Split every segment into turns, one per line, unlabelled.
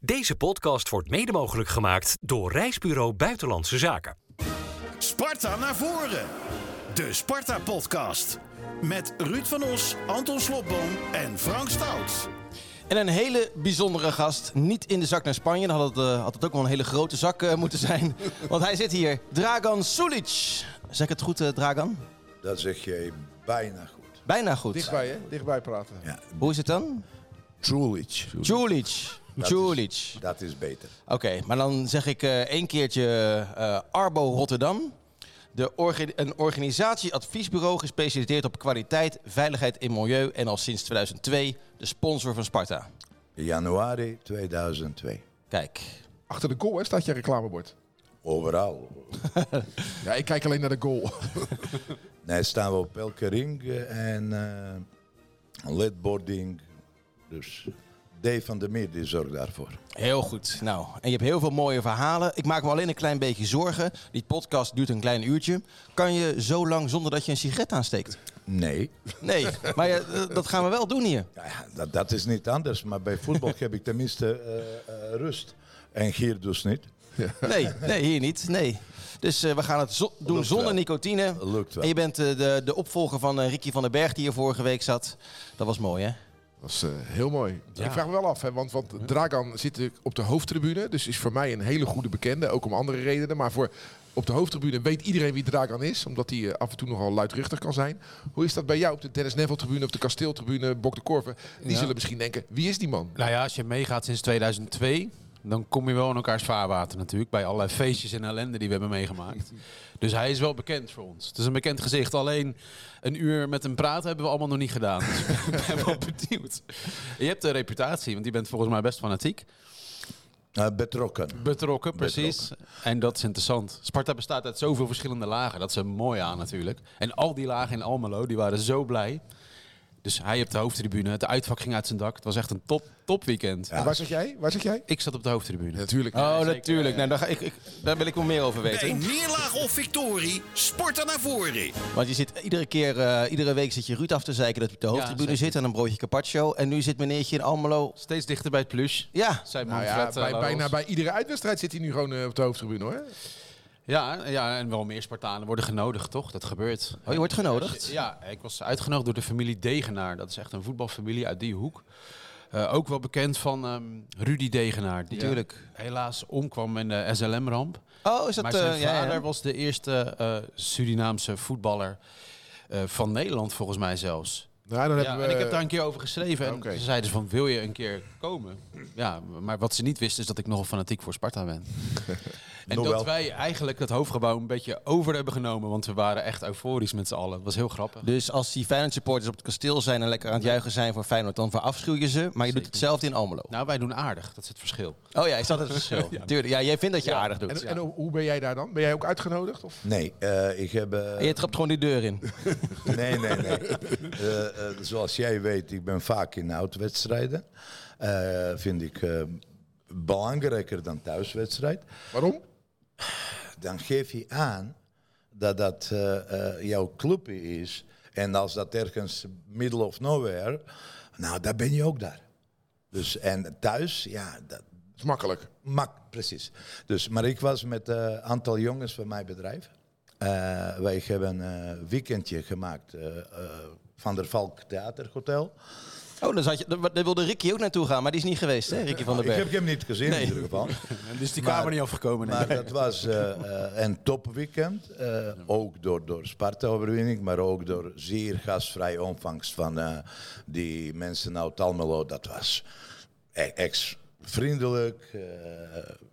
Deze podcast wordt mede mogelijk gemaakt door Reisbureau Buitenlandse Zaken.
Sparta naar voren. De Sparta Podcast. Met Ruud van Os, Anton Slobboom en Frank Stout.
En een hele bijzondere gast. Niet in de zak naar Spanje. Dan had het, eh, had het ook wel een hele grote zak eh, moeten zijn. Want hij zit hier. Dragan Sulic. Zeg ik het goed, eh, Dragan?
Dat zeg je bijna goed.
Bijna goed.
Dichtbij, hè? Dichtbij praten.
Ja,
Hoe is het dan?
Trulic.
Sulic.
Dat is-
Sulic.
dat is beter.
Oké, maar dan zeg ik eh één keertje eh, Arbo Rotterdam. De orga- een organisatieadviesbureau gespecialiseerd op kwaliteit, veiligheid in milieu. En al sinds 2002 de sponsor van Sparta.
Januari 2002.
Kijk.
Achter de goal hè, staat je reclamebord.
Overal.
Ja, ik kijk alleen naar de goal.
Nee, staan we op elke ring eh, en eh, ledboarding. Dus Dave van der Meer die zorgt daarvoor.
Heel goed. Nou, en je hebt heel veel mooie verhalen. Ik maak me alleen een klein beetje zorgen. Die podcast duurt een klein uurtje. Kan je zo lang zonder dat je een sigaret aansteekt?
Nee,
Nee, maar ja, eh, dat gaan we wel doen hier.
ja, ja, dat, dat is niet anders. Maar bij voetbal heb ik tenminste eh, eh, rust. En hier dus niet.
Nee, nee, hier niet. Nee. Dus eh, we gaan het zo- doen
Lukt
zonder
wel.
nicotine.
Lukt wel.
En je bent eh, de, de opvolger van eh, Ricky van den Berg die hier vorige week zat. Dat was mooi, hè?
Dat is eh, heel mooi. Ik vraag me wel af, hè, want, want Dragan zit natuurlijk op de hoofdtribune. Dus is voor mij een hele goede bekende. Ook om andere redenen. Maar voor op de hoofdtribune weet iedereen wie Dragan is. Omdat hij eh, af en toe nogal luidruchtig kan zijn. Hoe is dat bij jou op de Dennis Neville-tribune, op de Kasteeltribune, Bok de Korven? Die
Ja.
zullen misschien denken, wie is die man?
Nou ja, als je meegaat sinds 2002, dan kom je wel in elkaars vaarwater natuurlijk. Bij allerlei feestjes en ellende die we hebben meegemaakt. Dus hij is wel bekend voor ons. Het is een bekend gezicht. Alleen een uur met hem praten hebben we allemaal nog niet gedaan. Dus ik ben wel benieuwd. Je hebt een reputatie, want je bent volgens mij best fanatiek.
Eh, betrokken.
Betrokken, precies. En dat is interessant. Sparta bestaat uit zoveel verschillende lagen. Dat is er mooi aan natuurlijk. En al die lagen in Almelo, die waren zo blij. Dus hij op de hoofdtribune. Het uitvak ging uit zijn dak. Het was echt een top, top weekend.
En Waar zit jij? Waar zit jij?
Ik zat op de hoofdtribune.
Natuurlijk.
Oh, natuurlijk. Nou, daar, ga ik, ik, daar wil ik wel meer over weten.
Bij neerlaag of victorie, Sparta naar voren.
Want je zit iedere keer, eh, iedere week zit je Ruud af te zeiken dat hij op de hoofdtribune
zeker.
zit aan een broodje carpaccio. En nu zit meneertje in Almelo.
Steeds dichter bij het plus.
Ja,
Zijn
Nou ja,
Manfred, eh,
bij,
Laos.
bijna bij iedere uitwedstrijd zit hij nu gewoon eh, op de hoofdtribune hoor.
Ja, ja, en wel meer Spartanen worden genodigd, toch? Dat gebeurt.
oh, je wordt genodigd.
Ja, ik was uitgenodigd door de familie Degenaar. Dat is echt een voetbalfamilie uit die hoek. Eh, ook wel bekend van ehm, Rudy Degenaar. Die
Natuurlijk.
helaas omkwam in de SLM-ramp.
Oh, is dat...
Maar
eh,
zijn
ja, ja.
vader was de eerste eh, Surinaamse voetballer eh, van Nederland, volgens mij zelfs.
Nou, dan
Ja,
hebben
en
we...
ik heb daar een keer over geschreven. En
Oké.
ze zeiden van, wil je een keer komen? Ja, maar wat ze niet wisten is dat ik nogal fanatiek voor Sparta ben. en
Nou
dat
wel.
wij eigenlijk het hoofdgebouw een beetje over hebben genomen. Want we waren echt euforisch met z'n allen. Het was heel grappig.
Dus als die Feyenoord supporters op het kasteel zijn en lekker aan het juichen zijn voor Feyenoord, dan verafschuw je ze. Maar je doet hetzelfde in Almelo.
Nou, wij doen aardig. Dat is het verschil.
Oh ja, is dat het verschil? Tuurlijk. Ja, jij vindt dat je aardig doet.
En, en hoe- hoe ben jij daar dan? Ben jij ook uitgenodigd? Of?
Nee, eh, ik heb... eh,
En je trapt gewoon die deur in.
Nee, nee, nee. Eh, eh, zoals jij weet, ik ben vaak in uitwedstrijden. Eh vind ik eh, belangrijker dan thuiswedstrijd.
Waarom?
Dan geef je aan dat dat eh, eh, jouw club is. En als dat ergens middle of nowhere, nou, dan ben je ook daar. Dus, en thuis, ja, dat
Dat is makkelijk.
mak, precies. Dus, maar ik was met eh, een aantal jongens van mijn bedrijf. Eh, wij hebben een eh, weekendje gemaakt eh, eh, van der Valk Theaterhotel.
Oh, dan zat je, daar daar wilde Ricky ook naartoe gaan, maar die is niet geweest, hè, Ricky van der
Ik
Berg.
heb hem niet gezien in ieder geval.
Dus
kwamen
die kwamen
Maar- niet
niet afgekomen.
Maar dat was eh, eh, een topweekend. eh, Ook door, door Sparta-overwinning, maar ook door zeer gastvrij ontvangst van eh, die mensen uit Almelo. Dat was e- ex-vriendelijk. eh,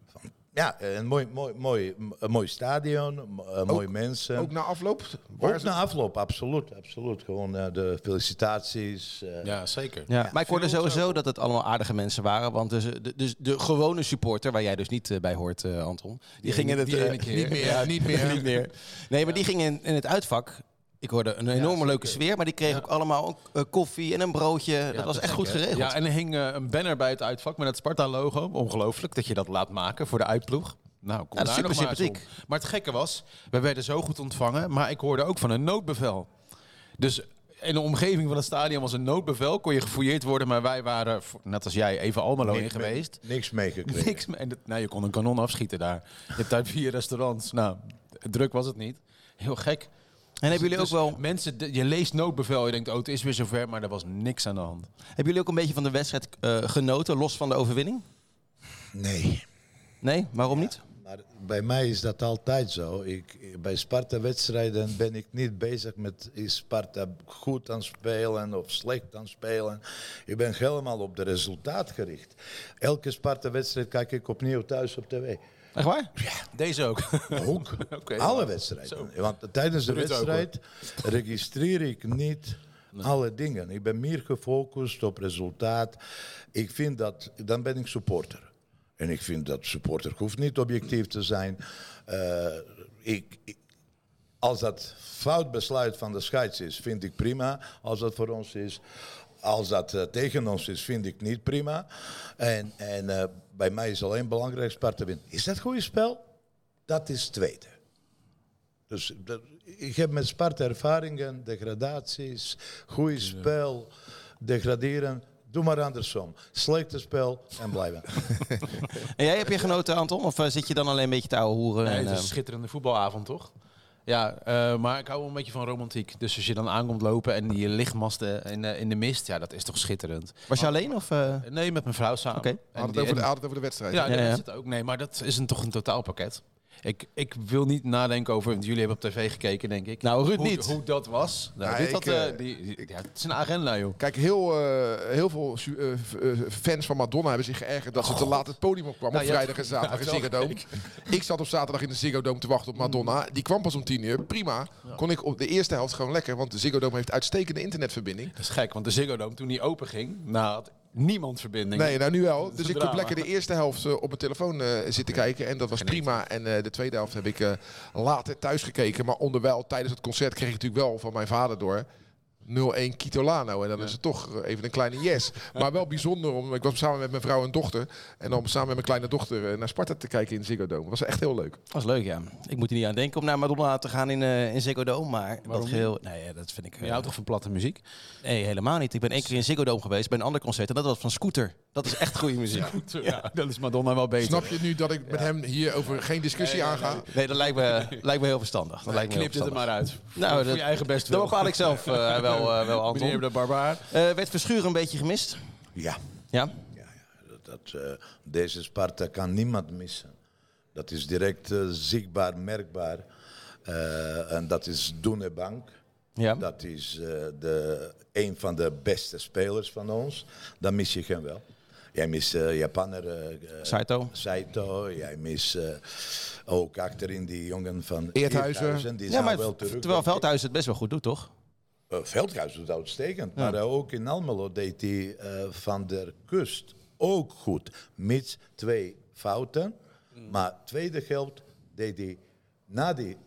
van- ja, een mooi, mooi, mooi, een mooi stadion, mo- eh, mooie mensen.
Ook na afloop?
Ook
Waar is
na afloop, absoluut. absoluut. Gewoon eh, de felicitaties. eh,
Ja, zeker.
Ja, maar ik hoorde sowieso dat het allemaal aardige mensen waren. Want dus, eh, de, dus de gewone supporter, waar jij dus niet eh, bij hoort, eh, Anton. Die, gingen het
die
eh,
ene keer.
niet meer.
Ja, niet meer.
niet meer. Nee, maar die gingen in, in het uitvak. Ik hoorde een enorme leuke sfeer, maar die kregen ook allemaal ook, eh, koffie en een broodje. dat was echt goed geregeld.
Ja, en er hing eh, een banner bij het uitvak met het Sparta-logo. Ongelooflijk dat je dat laat maken voor de uitploeg. Nou, kom
Ja, dat is
daar nog
super
maar eens
sympathiek.
om. Maar het gekke was, we werden zo goed ontvangen, maar ik hoorde ook van een noodbevel. Dus in de omgeving van het stadion was een noodbevel. Kon je gefouilleerd worden, maar wij waren, voor- net als jij, even Almelo in
Niks mee-
geweest.
Niks meegekregen.
Niks meer. En dat- Nou, je kon een kanon afschieten daar. Je hebt daar vier restaurants. Nou, druk was het niet. Heel gek.
En hebben jullie, ook
Dus
wel,
Mensen, de- je leest noodbevel, je denkt, oh, het is weer zover, maar er was niks aan de hand.
hebben jullie ook een beetje van de wedstrijd eh, genoten, los van de overwinning?
Nee.
Nee, waarom niet?
Maar bij mij is dat altijd zo. Ik, bij Sparta-wedstrijden ben ik niet bezig met is Sparta goed aan het spelen of slecht aan het spelen. Ik ben helemaal op de resultaat gericht. Elke Sparta-wedstrijd kijk ik opnieuw thuis op tv.
Echt waar?
Deze ook.
Ook.
Oké.
alle wedstrijden. Want tijdens de
Ruud ook,
wedstrijd registreer ik niet alle dingen. Ik ben meer gefocust op resultaat. Ik vind dat, dan ben ik supporter. En ik vind dat supporter hoeft niet objectief te zijn. Eh, ik, ik- als dat fout besluit van de scheids is, vind ik prima. Als dat voor ons is. Als dat eh, tegen ons is, vind ik niet prima. En, en eh, bij mij is alleen belangrijk Sparta wint. Is dat goede spel? Dat is tweede. Dus dat- ik heb met Sparta ervaringen, degradaties, goede spel, degraderen. Doe maar andersom. Slechte spel en blijven.
En jij heb je genoten, Anton? Of eh, zit je dan alleen een beetje te ouwe hoeren?
Nee,
en,
het is
eh,
een schitterende voetbalavond, toch? Ja, eh, maar ik hou wel een beetje van romantiek. Dus als je dan aankomt lopen en die lichtmasten in, eh, in de mist, ja, dat is toch schitterend.
was je alleen? Of, eh?
Nee, met mijn vrouw samen.
Oké.
En
Had het
die-
over de,
en-
had het over de wedstrijd.
Ja,
Ja,
dat
ja.
is het ook. Nee, maar dat is een, toch een totaalpakket. Ik, ik wil niet nadenken over, want jullie hebben op tv gekeken, denk ik.
Nou, Ruud
hoe,
niet.
Hoe dat was. Nou,
Ja,
Ruud
ik,
had, eh,
eh,
die, die- ja, het is een agenda, joh.
Kijk, heel, eh, heel veel su- eh, f- eh, fans van Madonna hebben zich geërgerd dat ze te laat het podium op kwam.
Nou,
op
je hebt-
vrijdag en zaterdag
ja,
in Ziggo Dome.
wel
Ik zat op zaterdag in de Ziggo Dome te wachten op
Hmm.
Madonna. Die kwam pas om tien uur. Prima. Kon ik op de eerste helft gewoon lekker, want de Ziggo Dome heeft uitstekende internetverbinding.
Dat is gek, want de Ziggo Dome, toen die open ging, nou, had niemand verbinding.
Nee, nou nu wel.
een
Dus ik
drama.
heb lekker de eerste helft eh, op mijn telefoon eh, zitten kijken. En dat was prima. En eh, de tweede helft heb ik eh, later thuis gekeken. Maar onderwijl, tijdens het concert, kreeg ik natuurlijk wel van mijn vader door. 0-1 Kitolano. En dan is het toch eh, even een kleine yes. Maar wel bijzonder. Om, ik was samen met mijn vrouw en dochter. En om samen met mijn kleine dochter eh, naar Sparta te kijken in Ziggo Dome. Was echt heel leuk.
Dat was leuk, ja. Ik moet er niet aan denken om naar Madonna te gaan in, eh in Ziggo Dome, maar dat geheel... Nee, ja, dat vind ik... eh,
Je houdt toch van platte muziek?
nee, helemaal niet. Ik ben één keer in Ziggo Dome geweest bij een ander concert en dat was van Scooter. Dat is echt goede muziek.
Ja. dat is Madonna wel beter.
Snap je nu dat ik met hem hierover geen discussie aanga?
Nee, dat lijkt me, lijkt me heel verstandig. Dat lijkt me heel
Knip dit er
verstandig.
maar uit.
Nou,
voor
dat-
je eigen best
Dat
wel.
bepaal ik zelf eh, wel, eh, wel, Anton.
Meneer de Barbaar.
Eh, werd Verschuren een beetje gemist?
Ja,
Ja?
ja, ja. Dat, dat, eh, deze Sparta kan niemand missen. Dat is direct eh, zichtbaar, merkbaar. Eh, en dat is Doene Bank.
Ja.
Dat is eh, de, een van de beste spelers van ons. Dan mis je hem wel. Jij mist eh, Japaner eh, eh,
Saito.
Saito. Jij mist eh, ook achterin die jongen van
Eerthuizen.
Die
Ja,
zijn
maar
wel
v-
terug.
terwijl Veldhuis het best wel goed doet, toch?
Eh, Veldhuis doet uitstekend. Maar eh, ook in Almelo deed hij eh, van der kust ook goed. Mits twee fouten. Maar tweede helft deed hij na die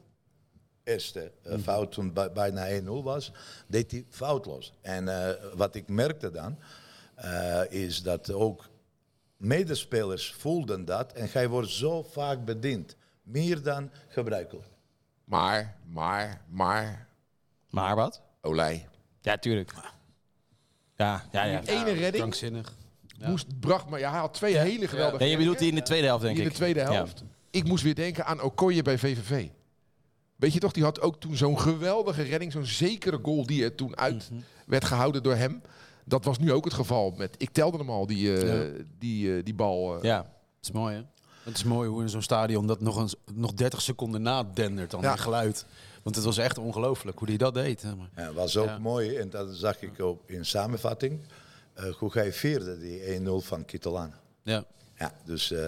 eerste eh, fout, toen bij- bijna 1-0 was, deed hij foutloos. En eh, wat ik merkte dan, eh, is dat ook medespelers voelden dat. En hij wordt zo vaak bediend. Meer dan gebruikelijk.
Maar, maar, maar.
Maar wat?
Olij.
Ja, tuurlijk. Ja, ja, ja.
Ene redding.
Krankzinnig.
Moest, bracht maar, ja, hij had twee hele geweldige
Nee, je bedoelt die in de tweede helft, denk
in
ik.
de tweede
Ja.
helft. Ik moest weer denken aan Okoye bij VVV. Weet je toch, die had ook toen zo'n geweldige redding, zo'n zekere goal die er toen uit
Mhm.
werd gehouden door hem. Dat was nu ook het geval. Met, ik telde hem al, die, eh, die, eh, die bal. eh.
Ja.
Dat is mooi, hè? Het is mooi hoe in zo'n stadion dat nog, eens, nog 30 seconden nadendert dan
Ja.
die geluid. Want het was echt ongelooflijk hoe hij dat deed. Hè? Maar
Ja, was ook mooi, en dat zag ik ook in samenvatting, eh, hoe hij vierde die 1-0 van Kitolana.
ja.
Ja, dus... eh,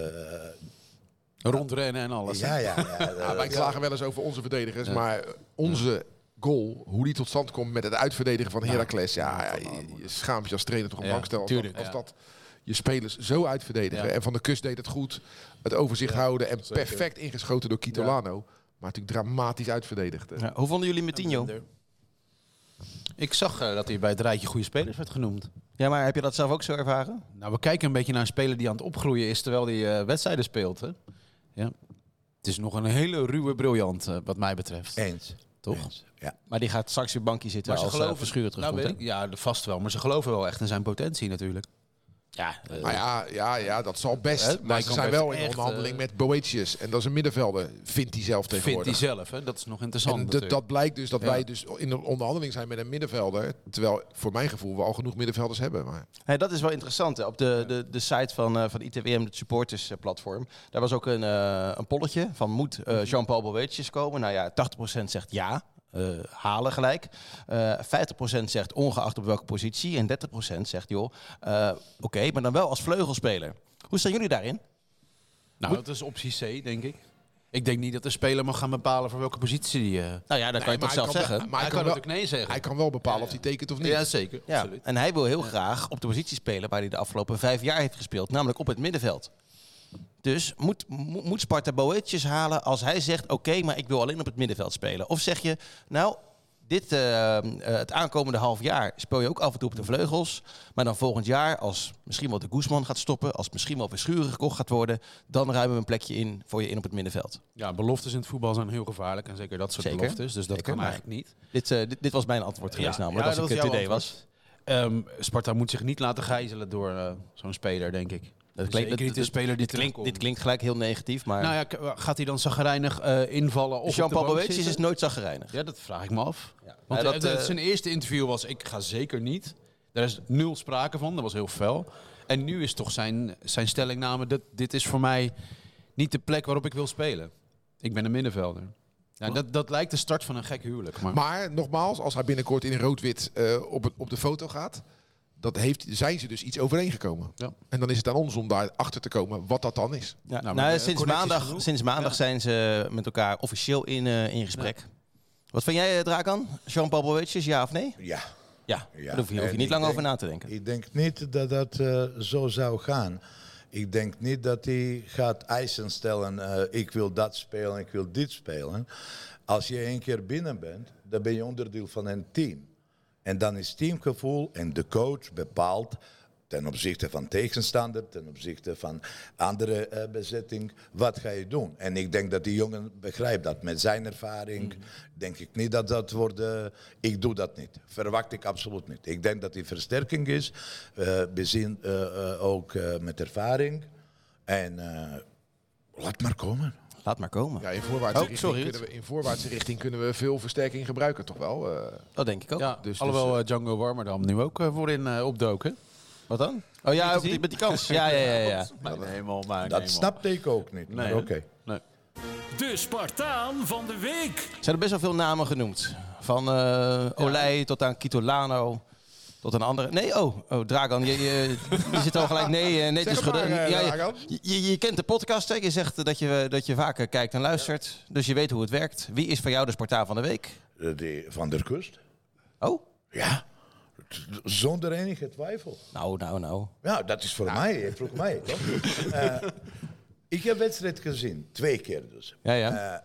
Rondrennen en alles. hè?
ja, ja, ja.
Ja, wij klagen wel eens over onze verdedigers, maar onze goal, hoe die tot stand komt met het uitverdedigen van Heracles. Ja, ja, je, je schaamt je als trainer toch een
Ja,
bankstel als,
tuurlijk,
dat- als
ja.
dat je spelers zo uitverdedigen.
Ja.
En Van de Kust deed het goed, het overzicht houden en perfect ingeschoten door Kitolano. Maar natuurlijk dramatisch uitverdedigd. hè.
Ja. Hoe vonden jullie Metinho?
Ik zag eh, dat hij bij het rijtje goede spelers werd genoemd.
Ja, maar heb je dat zelf ook zo ervaren?
Nou, we kijken een beetje naar een speler die aan het opgroeien is terwijl hij eh, wedstrijden speelt. Hè? Ja. Het is nog een hele ruwe briljant, eh, wat mij betreft.
Eens.
toch?
Ja.
Maar die gaat straks weer bankje zitten als eh, Verschuren
nou,
terugkomt.
weet ik,
hè?
ja, vast wel. Maar ze geloven wel echt in zijn potentie natuurlijk.
ja, eh,
Maar ja, ja, ja, dat zal best.
Hè,
maar ze
Nijkamp
zijn
heeft
wel in
echt,
onderhandeling
eh,
met Boetius. En dat is een middenvelder, vindt hij zelf
Vindt hij
tegenwoordig.
zelf, hè? Dat is nog interessant.
en dat-
natuurlijk.
dat blijkt dus dat
Ja.
wij dus in de onderhandeling zijn met een middenvelder. Terwijl voor mijn gevoel we al genoeg middenvelders hebben. Maar
Hey, dat is wel interessant. Hè. Op de, de, de site van, eh, van ITWM, het supportersplatform, daar was ook een, eh, een polletje van moet eh, Jean-Paul Boetius komen? Nou ja, 80% zegt ja, eh, halen gelijk. Eh 50% zegt ongeacht op welke positie. En 30% zegt joh, eh, oké, maar dan wel als vleugelspeler. Hoe staan jullie daarin?
Nou, dat is optie C, denk ik. Ik denk niet dat de speler mag gaan bepalen voor welke positie die. eh,
Nou ja, dat kan je toch
maar hij
zelf
kan
zeggen?
wel-
maar hij kan,
wel-
natuurlijk nee zeggen.
hij kan wel bepalen of hij tekent of niet.
ja, zeker.
Ja,
Absoluut.
en hij wil heel graag op de positie spelen waar hij de afgelopen vijf jaar heeft gespeeld, namelijk op het middenveld. Dus moet, mo- moet Sparta Boetjes halen als hij zegt: Oké, maar ik wil alleen op het middenveld spelen? Of zeg je: Nou, dit, eh, eh, het aankomende half jaar speel je ook af en toe op de vleugels. Maar dan volgend jaar, als misschien wel de Guzman gaat stoppen, als misschien wel Verschuren gekocht gaat worden, dan ruimen we een plekje in voor je in op het middenveld.
Ja, beloftes in het voetbal zijn heel gevaarlijk. En zeker dat soort
Zeker.
beloftes. Dus dat
Zeker,
kan
maar-
eigenlijk niet.
Dit, eh, dit, dit was mijn antwoord geweest, namelijk
ja,
als
dat
ik het
jouw
idee was.
antwoord. Ehm, Sparta moet zich niet laten gijzelen door eh, zo'n speler, denk Dus ik.
Dat
Zeker
klinkt, dat-
niet de
dat-
speler die
dit klinkt, dit
terugkomt.
klinkt gelijk heel negatief, maar.
Nou ja, k- gaat hij dan zagrijnig eh, invallen? Of
Jean-Paul
op de bank
Boetjes is
zitten?
nooit zagrijnig.
Ja, dat vraag ik me af.
Ja,
Want
dat,
eh, dat,
eh,
zijn eerste interview was, ik ga zeker niet. Daar is nul sprake van, dat was heel fel. En nu is toch zijn, zijn stellingname, dat, dit is voor mij niet de plek waarop ik wil spelen. Ik ben een middenvelder. Ja, dat, dat lijkt de start van een gek huwelijk. Maar,
Maar nogmaals, als hij binnenkort in rood-wit eh, op, het- op de foto gaat, dat heeft, zijn ze dus iets overeengekomen.
Ja.
En dan is het aan ons om daar achter te komen wat dat dan is.
Ja,
Nou,
nou,
maar de
sinds,
connectie is
maandag,
genoeg.
sinds maandag zijn ze met elkaar officieel in, eh, in gesprek. Wat vind jij, eh, Drakan? Jean-Paul Boetjes, ja of nee?
Ja.
Ja,
Ja,
daar hoef je, hoef je
en
niet
ik
lang
denk-
over na te denken.
Ik denk niet dat dat eh, zo zou gaan. Ik denk niet dat hij gaat eisen stellen, eh, ik wil dat spelen, ik wil dit spelen. Als je één keer binnen bent, dan ben je onderdeel van een team. En dan is teamgevoel en de coach bepaalt ten opzichte van tegenstander, ten opzichte van andere eh, bezetting, wat ga je doen? En ik denk dat die jongen begrijpt dat. Met zijn ervaring
Mhm.
denk ik niet dat dat wordt, eh, ik doe dat niet. Verwacht ik absoluut niet. Ik denk dat die versterking is, eh, we zien eh, eh, ook eh, met ervaring. En eh, laat maar komen.
Laat maar komen.
Ja, in voorwaartse,
Oh,
richting,
sorry,
kunnen we, in voorwaartse richting kunnen we veel versterking gebruiken, toch wel? eh.
Dat denk ik ook.
ja,
dus-
alhoewel eh, Django Warmerdam nu ook eh, voorin eh, opdoken.
Wat dan?
eh,
Oh ja, op die, met die kans. Ja, ja, ja. ja, ja.
Mijn hemel, mijn
Dat
hemel.
snapte ik ook niet. maar
Nee,
Oké.
hè? Nee.
De Spartaan van de week.
Er zijn er best wel veel namen genoemd. Van eh Olij tot aan Kitolano. Tot een andere. Nee, oh, oh Dragan, je, je, je zit al gelijk nee, eh, nee te
Zeg het
schudden.
maar, eh,
Ja, je,
Dragan.
je, je kent de podcast, hè? je zegt eh, dat je, dat je vaker kijkt en luistert. Dus je weet hoe het werkt. Wie is voor jou de Spartaan van de week?
Eh, die van der Kust.
Oh,
Ja, t- zonder enige twijfel.
nou, nou, nou.
Ja, dat is voor mij. Je vroeg mij, toch? Eh, ik heb wedstrijd gezien, twee keer dus.
Ja, ja.
Eh.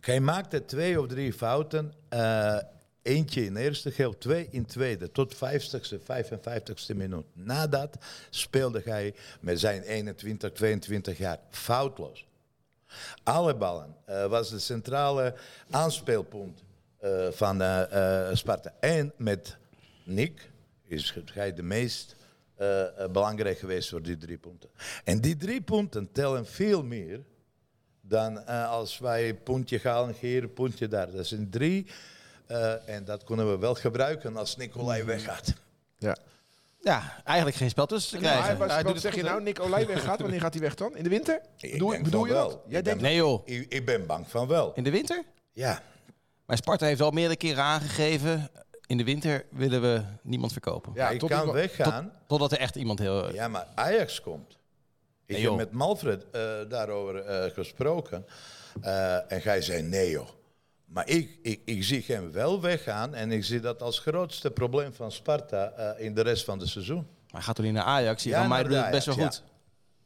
Hij maakte twee of drie fouten. eh, eentje in eerste geel, twee in tweede. Tot 50ste, 55ste minuut. Nadat speelde hij met zijn 21, 22 jaar foutloos. Alle ballen eh, was de centrale aanspeelpunt eh, van eh, eh, Sparta. En met Nick is hij de meest eh, eh, belangrijk geweest voor die drie punten. En die drie punten tellen veel meer dan eh, als wij een puntje halen hier, puntje daar. Dat zijn drie. eh, en dat kunnen we wel gebruiken als
Mm.
Nicolai weggaat.
ja.
Ja, eigenlijk geen spel tussen te
Maar
krijgen.
wat, wat zeg je nou? Nick Olij weggaat, wanneer gaat hij weg dan? In de winter?
Ik
Doe-
denk
bedoel
van
je dat?
wel.
Jij
Ik
denkt
Nee joh,
Ik, ik ben bang van wel.
in de winter?
Ja.
Maar Sparta heeft al meerdere keren aangegeven... in de winter willen we niemand verkopen.
Ja,
ik
tot
kan
die-
weggaan.
Totdat er echt iemand heel...
Ja, maar Ajax komt. Ik
Nee,
heb
joh.
met Malfred eh, daarover eh, gesproken. Eh, en hij zei nee joh. Maar ik, ik, ik zie hem wel weggaan. En ik zie dat als grootste probleem van Sparta eh, in de rest van het seizoen.
Maar gaat toch niet naar Ajax? Die
Ja,
van mij
naar de
doet het best wel
Ajax,
goed.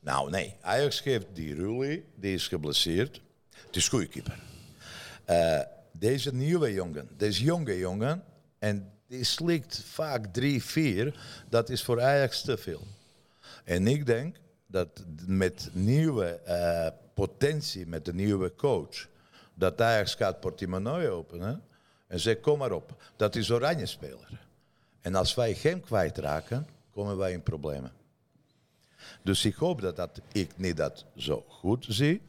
Nou, nee. Ajax geeft die Rulli, die is geblesseerd. Het is goede keeper. Eh, deze nieuwe jongen, deze jonge jongen, en die slikt vaak drie, vier, dat is voor Ajax te veel. En ik denk dat met nieuwe eh, potentie, met de nieuwe coach, dat Ajax gaat portemonnee openen en zegt kom maar op. Dat is oranje speler. En als wij hem kwijtraken, komen wij in problemen. Dus ik hoop dat, dat ik niet dat zo goed zie,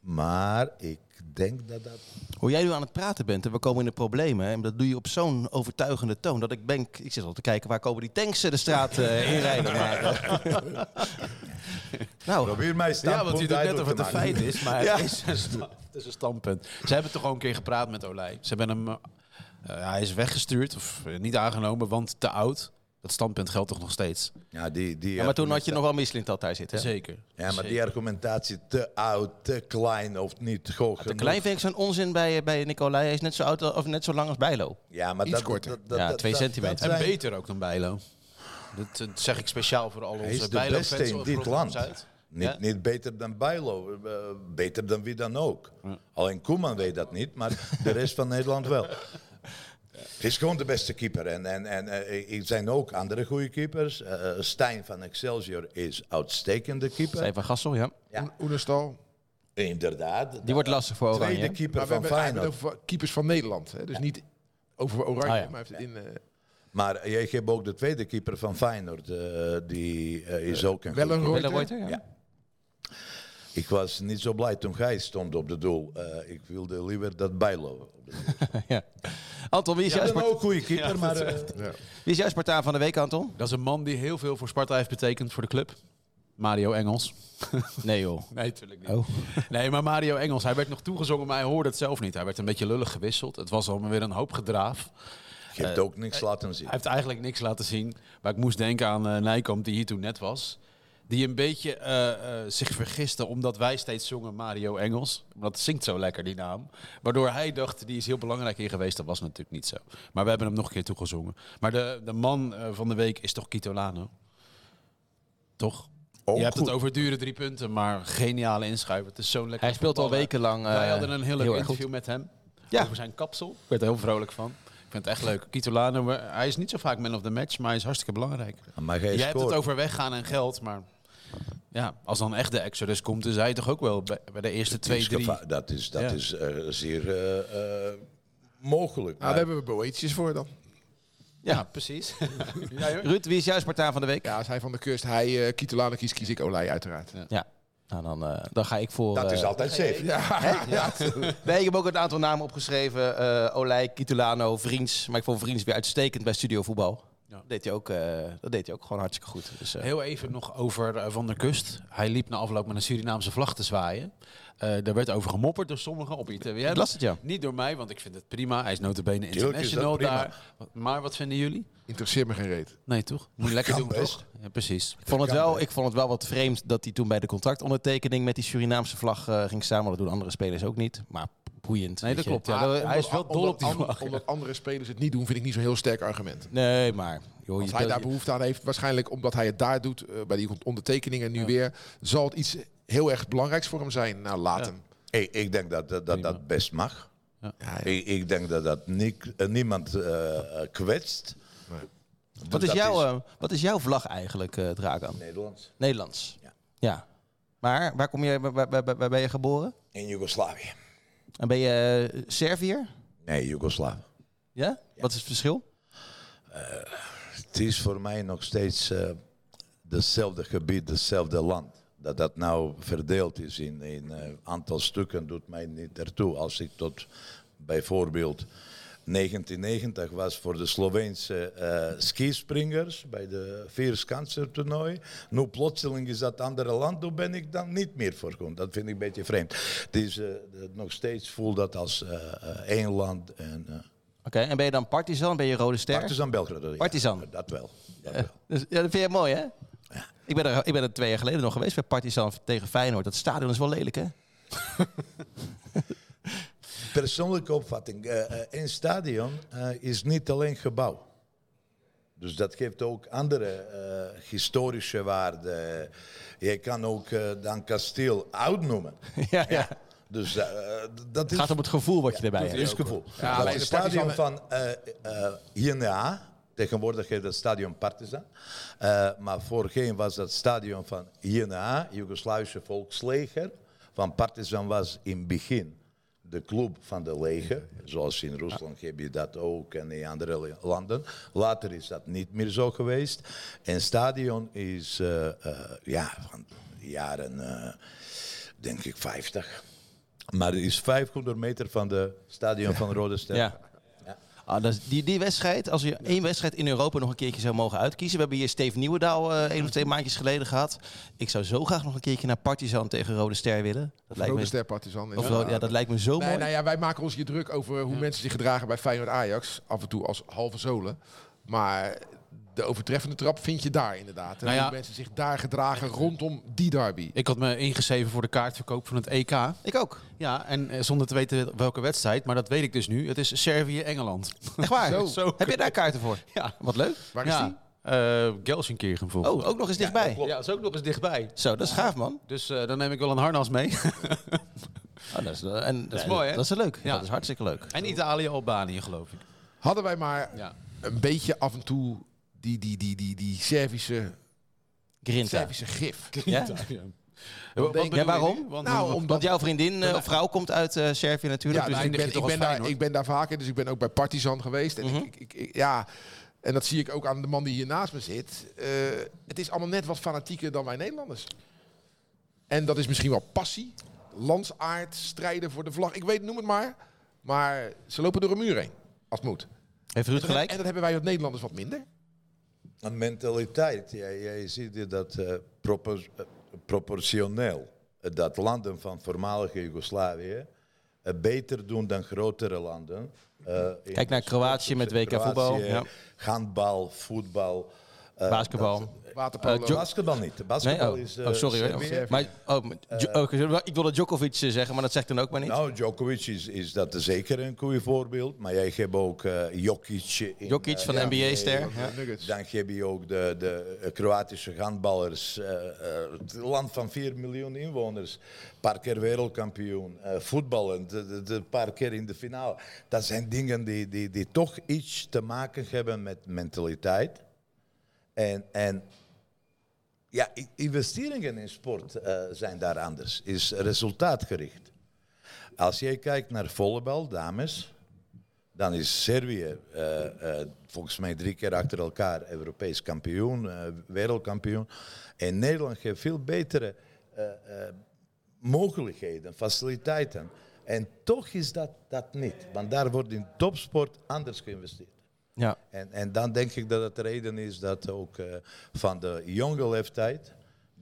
maar ik denk dat dat...
Hoe jij nu aan het praten bent en we komen in de problemen. hè, En dat doe je op zo'n overtuigende toon. Dat ik denk, ik zit al te kijken waar komen die tanks eh, de straat eh, inrijden. Maar, eh, nou,
Probeer mij
Ja, want u
standpunt
doet net of
duidelijk
het
te
een
maken.
feit is, maar
Ja.
het, is een sta- het is een standpunt. Ze hebben toch gewoon een keer gepraat met Olij. Ze hebben hem, eh, eh, hij is weggestuurd of eh, niet aangenomen, want te oud. Dat standpunt geldt toch nog steeds?
Ja, die, die
ja, maar toen had je
argumenta-
nog wel Misselint dat daar zitten. hè?
Zeker.
Ja, maar die
Zeker.
argumentatie te oud, te klein of niet hoog
Te
genoeg.
klein vind ik zo'n onzin bij, eh, bij Nicolai. Hij is net zo, oud, al- of net zo lang als Bijlo.
Ja, maar
Iets
dat,
korter.
dat- dat-
Ja,
dat-
twee
dat-
centimeter.
dat
En
zijn-
beter ook dan Bijlo. Dat, eh, zeg ik speciaal voor al
Hij
onze
is de
bijlo
beste in dit land. Niet,
Ja?
niet beter dan Bijlo, eh, beter dan wie dan ook. Alleen Koeman weet dat niet, maar de rest van Nederland wel. Hij is gewoon de beste keeper. En, en, en eh, er zijn ook andere goede keepers. Eh, Stijn van Excelsior is uitstekende keeper.
Zij van Gassel, ja.
Ja.
Oenerstal.
Inderdaad.
Die wordt lastig voor Oranje.
tweede
hè?
keeper
Maar we
van
hebben we hebben het
Feyenoord.
over keepers van Nederland. Hè? Dus niet over Oranje,
Ah, ja.
maar hij heeft het in... eh,
Maar jij hebt ook de tweede keeper van Feyenoord. eh, die eh, is ook een
wel
goede
een
keeper.
Willem
Reuter.
Reuter, ja.
Ik was niet zo blij toen hij stond op de doel. Eh, ik wilde liever dat Bijlo op de doel.
Ja. Anton, wie is, jouw
Ik ben
Spart-
ook een goede keeper, maar... eh,
wie is jouw Spartaan van de week, Anton?
Dat is een man die heel veel voor Sparta heeft betekend voor de club. Mario Engels.
Nee joh.
Nee, natuurlijk niet.
Oh.
Nee, maar Mario Engels, hij werd nog toegezongen, maar hij hoorde het zelf niet. Hij werd een beetje lullig gewisseld. Het was allemaal weer een hoop gedraaf.
Je hebt ook niks laten zien.
Hij heeft eigenlijk niks laten zien. Maar ik moest denken aan eh, Nijkamp, die hier toen net was. Die een beetje eh, eh, zich vergiste omdat wij steeds zongen Mario Engels. Omdat het zingt zo lekker, die naam. Waardoor hij dacht, die is heel belangrijk hier geweest. Dat was natuurlijk niet zo. Maar we hebben hem nog een keer toegezongen. Maar de, de man eh, van de week is toch Kitolano? Toch?
Ook
Je hebt
goed.
het over dure drie punten, maar geniale inschuiver. Het is zo'n lekker
Hij speelt al wekenlang. eh,
Wij hadden een heel leuk
heel erg
interview
goed.
met hem.
Ja.
Over zijn kapsel. Ik werd er heel vrolijk van. Ik vind het echt leuk. Kito Lano, maar hij is niet zo vaak man of the match, maar hij is hartstikke belangrijk.
Ah, Maar
Jij
jij
hebt het
scoort.
over weggaan en geld, maar ja, als dan echt de exodus komt, is hij toch ook wel bij, bij de eerste twee,
Is
drie.
gevaar- Dat is, dat
Ja.
is eh, zeer eh, eh, mogelijk.
Nou, daar
Maar
hebben we Boetjes voor dan.
Ja, precies. ja, hoor.
Ruud, wie is jouw Spartaan van de week?
Ja, als hij van de kust, hij eh, Kitolano kiest, kies ik Olij uiteraard.
Ja. Nou, dan, eh, dan ga ik voor...
dat is
eh,
altijd safe.
Nee, ik heb ook een aantal namen opgeschreven. Eh Olij, Kitulano, Vriends. Maar ik vond Vriends weer uitstekend bij Studio Voetbal.
Ja.
Dat, deed hij ook, eh, dat deed hij ook gewoon hartstikke goed. Dus, eh,
Heel even nog over eh, Van der Kust. Hij liep na afloop met een Surinaamse vlag te zwaaien. Eh daar werd over gemopperd door sommigen op ITWM.
Ik las het, ja.
Niet door mij, want ik vind het prima. Hij is notabene
is dat
international
prima.
daar. Maar wat vinden jullie?
Interesseert me geen reet.
Nee, toch? Moet je lekker
Kan
doen,
best.
toch? Ja, precies.
ik, vond het wel, ik vond het wel wat vreemd dat hij toen bij de contractondertekening met die Surinaamse vlag eh, ging staan. Maar dat doen andere spelers ook niet. Maar boeiend.
Nee,
weet
dat
je.
klopt. Ja, dat- hij is wel dol op die
andere,
vlag. ja.
Omdat andere spelers het niet doen, vind ik niet zo'n heel sterk argument.
Nee, maar... Joh,
Als
je
hij
speelt-
daar behoefte aan heeft, waarschijnlijk omdat hij het daar doet, eh, bij die ondertekeningen nu weer, zal het iets heel erg belangrijks voor hem zijn. Nou, laat hem.
Hey, ik denk dat dat, dat, dat best mag.
Ja, ja.
Ik, ik denk dat dat nik- eh, niemand eh, eh, kwetst. Dus
wat, is
dat
jouw, eh, wat is jouw vlag eigenlijk, eh Dragan?
Nederlands.
Nederlands.
Ja.
ja. Maar waar, kom je, waar, waar- waar- waar ben je geboren?
In Joegoslavië.
En ben je eh, Serviër?
Nee, Joegoslavië.
Ja? Wat is het verschil?
Het is voor mij nog steeds eh hetzelfde gebied, hetzelfde land. Dat dat nou verdeeld is in een aantal stukken doet mij niet ertoe. Als ik tot bijvoorbeeld 1990 was voor de Sloveense eh, skispringers bij de Vierskanser toernooi. Nu plotseling is dat andere land, daar ben ik dan niet meer voor. goed. Dat vind ik een beetje vreemd. Het is eh, nog steeds voel dat als eh, eh, één land en eh
Oké, en ben je dan Partizan? Ben je Rode Ster?
Partizan Belgrado. ja.
Partizan.
dat wel. Dat
Eh,
wel.
dus- ja, dat vind je mooi, hè? Ik, ben er, ik ben er twee jaar geleden nog geweest bij Partizan tegen Feyenoord. Dat stadion is wel lelijk, hè?
Persoonlijke opvatting. eh, eh, een stadion eh, is niet alleen gebouw. Dus dat geeft ook andere eh, historische waarden. Je kan ook eh, dan kasteel oud noemen.
ja, ja.
Dus eh, eh, d- dat
Het
is
gaat om het gevoel wat je erbij
het
hebt.
gevoel.
Ja,
dat
alleen
is het
de
stadion van eh eh, INA. Tegenwoordig heet dat stadion Partizan. Eh, maar voorheen was dat stadion van INA, Joegoslavische Volksleger. Van Partizan was in het begin de club van de leger, zoals in Rusland heb je dat ook en in andere le- landen. Later is dat niet meer zo geweest. En stadion is eh, eh, ja, van de jaren, eh, denk ik, 50. Maar het is 500 meter van de stadion van Rode Ster.
Ja. Ah, dat is- die, die wedstrijd, als je één wedstrijd in Europa nog een keertje zou mogen uitkiezen. We hebben hier Steve Nieuwendaal eh één of twee maandjes geleden gehad. Ik zou zo graag nog een keertje naar Partizan tegen Rode Ster willen. Dat lijkt
Rode
me,
Ster Partizan.
of Rode- ja, dat lijkt me zo
Nee,
mooi.
nou ja, wij maken ons hier druk over hoe mensen zich gedragen bij Feyenoord Ajax. Af en toe als halve zolen. Maar de overtreffende trap vind je daar inderdaad. En
Nou ja.
hoe mensen zich daar gedragen rondom die derby.
Ik had me ingeschreven voor de kaartverkoop van het EK.
Ik ook.
Ja, en eh, zonder te weten welke wedstrijd, maar dat weet ik dus nu. Het is Servië-Engeland.
Echt waar?
Zo.
Heb je daar kaarten voor?
Ja.
Wat leuk.
Waar is
ja.
die?
Eh, Gelsenkirchen volgens
Oh, ook nog eens dichtbij.
Ja, is ook nog eens dichtbij.
Zo, dat is gaaf man.
Dus eh, dan neem ik wel een harnas mee.
Oh, dat is, eh, en, dat
is mooi, hè?
Dat is leuk.
Ja.
Dat is hartstikke leuk.
en Italië-Albanië, geloof ik.
Hadden wij maar
Ja.
een beetje af en toe die, die, die, die, die Servische,
Grinta.
Servische gif.
Ja? dus
Wat bedoel je
waarom?
nu? Want-
Nou,
want-
omdat...
Want jouw vriendin eh, of vrouw komt uit eh, Servië natuurlijk.
Ja,
dus
nou,
eindig
ik, ben,
je
ik,
toch als
ben daar,
Feyenoord?
ik ben daar vaker, dus ik ben ook bij Partizan geweest. En, ik, ik, ik- ja, en dat zie ik ook aan de man die hier naast me zit. Eh, het is allemaal net wat fanatieker dan wij Nederlanders. En dat is misschien wel passie, landsaard, strijden voor de vlag. Ik weet, noem het maar. Maar ze lopen door een muur heen, als het moet.
Heeft Ruud gelijk?
En dat hebben wij als Nederlanders wat minder.
Een mentaliteit. Jij, jij ziet dat eh, propor- eh, proportioneel. eh, Dat landen van voormalige Joegoslavië eh, beter doen dan grotere landen. Eh, in
Kijk naar
sport-
Kroatië met WK
Kroatië,
voetbal, ja.
Handbal, voetbal. eh,
Basketbal.
Waterpolo.
Eh,
dat-
Jo-
basketbal niet.
Nee,
Basketbal
oh,
is. eh,
oh sorry hoor.
Servië.
Maar, oh, maar Jo- oh, ik wil- ik wilde Djokovic eh, zeggen, maar dat zegt dan ook maar niet.
Nou, Djokovic is, is dat zeker een goed voorbeeld. Maar jij hebt ook eh, Jokic. In,
Jokic van de
eh,
NBA-ster.
Ja, Nuggets.
Dan heb je ook de, de eh, Kroatische handballers. eh, eh, het land van 4 miljoen inwoners. Een paar keer wereldkampioen. eh voetballen. De, de, de paar keer in de finale. Dat zijn dingen die, die, die toch iets te maken hebben met mentaliteit. En, en ja, i- investeringen in sport eh, zijn daar anders. Is resultaatgericht. Als jij kijkt naar volleybal, dames, dan is Servië eh, eh, volgens mij drie keer achter elkaar Europees kampioen, eh, wereldkampioen. En Nederland heeft veel betere eh, eh, mogelijkheden, faciliteiten. En toch is dat, dat niet, want daar wordt in topsport anders geïnvesteerd.
Ja.
En, en dan denk ik dat het de reden is dat ook eh, van de jonge leeftijd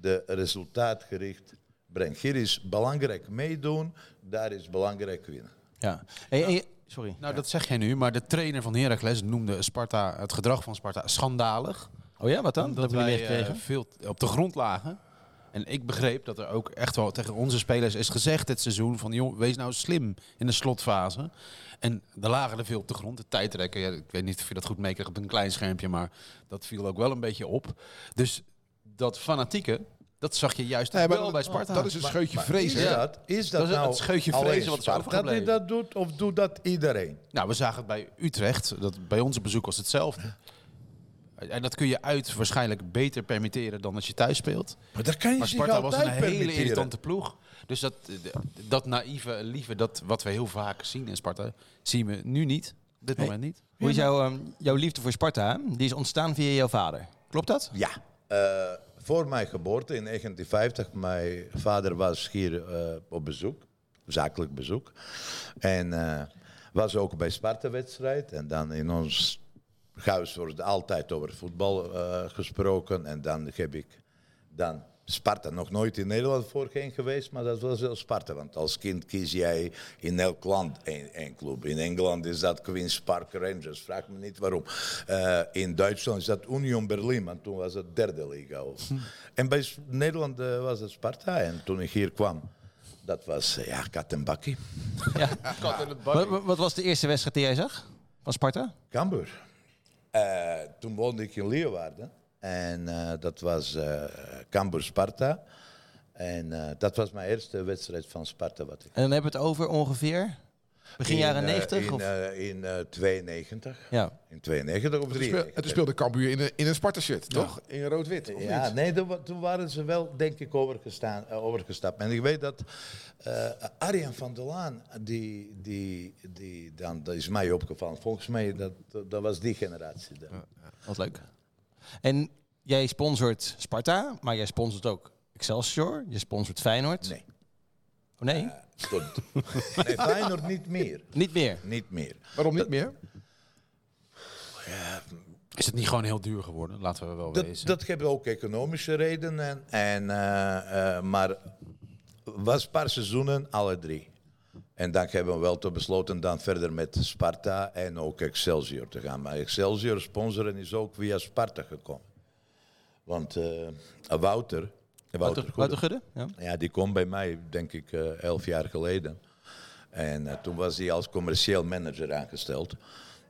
de resultaatgericht brengt. Hier is belangrijk meedoen, daar is belangrijk winnen.
ja. Hey, hey, sorry.
Nou, dat zeg jij nu, maar de trainer van Heracles noemde Sparta, het gedrag van Sparta schandalig.
Oh ja, wat dan? Dat
Dat
hebben jullie
wij eh,
meegekregen.
veel t- op de grond lagen. En ik begreep dat er ook echt wel tegen onze spelers is gezegd dit seizoen van jong, wees nou slim in de slotfase. En er lagen er veel op de grond. De tijdrekken, ja, ik weet niet of je dat goed meekreeg op een klein schermpje, maar dat viel ook wel een beetje op. Dus dat fanatieke, dat zag je juist
Nee, maar
wel
dat-
bij Sparta.
Dat is een scheutje
Maar
vrees.
Is
hè?
dat, is dat,
Dat is
nou
het scheutje vrezen
alleen
wat is
Sparta
overgebleven.
die dat doet, of doet dat iedereen?
Nou, we zagen het bij Utrecht. Dat bij ons op bezoek was hetzelfde. En dat kun je uit waarschijnlijk beter permitteren dan als je thuis speelt.
Maar dat kan je
Maar
zich
Sparta was
altijd
een hele
permitteren.
irritante ploeg. Dus dat, dat naïeve, lieve, dat wat we heel vaak zien in Sparta, zien we nu niet. Op dit moment niet.
Hoe is jouw, ehm, jouw liefde voor Sparta? hè? Die is ontstaan via jouw vader. Klopt dat?
Ja. Eh, voor mijn geboorte in 1950, mijn vader was hier eh, op bezoek, zakelijk bezoek. En eh, was ook bij Sparta-wedstrijd. En dan in ons huis wordt altijd over voetbal eh, gesproken. En dan heb ik dan Sparta nog nooit in Nederland voorheen geweest, maar dat was wel Sparta. Want als kind kies jij in elk land één, één club. In Engeland is dat Queen's Park Rangers, vraag me niet waarom. Eh, in Duitsland is dat Union Berlin, want toen was het derde liga. ook. En bij S- Nederland eh, was het Sparta. En toen ik hier kwam, dat was eh, ja, kat en bakkie.
Wat, wat- wat was de eerste wedstrijd die jij zag van Sparta?
Cambuur. Eh, toen woonde ik in Leeuwarden. En eh, dat was eh Cambuur-Sparta. En eh, dat was mijn eerste wedstrijd van Sparta. Wat ik...
En dan hebben we het over ongeveer Begin jaren
In, eh,
90?
In,
of?
eh, in eh, 92.
ja.
In 92 of
Het speelde,
93.
het speelde Cambuur in een, in een Sparta-shirt, toch? In rood-wit, of
Ja,
niet?
nee, toen, wa- toen waren ze wel, denk ik, overgestaan, eh, overgestapt. En ik weet dat eh Arjen van der Laan, die, die, die dan, dat is mij opgevallen. Volgens mij, dat, dat was die generatie dan.
Wat leuk. En jij sponsort Sparta, maar jij sponsort ook Excelsior. Je sponsort Feyenoord.
Nee, Eh.
Oh, nee?
tot, nee, Feyenoord niet meer.
Niet meer.
Niet meer.
Waarom niet meer?
Is het niet gewoon heel duur geworden? Laten we wel
Dat,
wezen.
dat hebben ook economische redenen. En, eh, eh, maar was een paar seizoenen, alle drie. En dan hebben we wel te besloten dan verder met Sparta en ook Excelsior te gaan. Maar Excelsior sponsoren is ook via Sparta gekomen. Want eh, Wouter, Wouter,
Wouter,
Goede-
Wouter Gudde? Ja.
ja, die kwam bij mij, denk ik, eh, elf jaar geleden. En eh, toen was hij als commercieel manager aangesteld.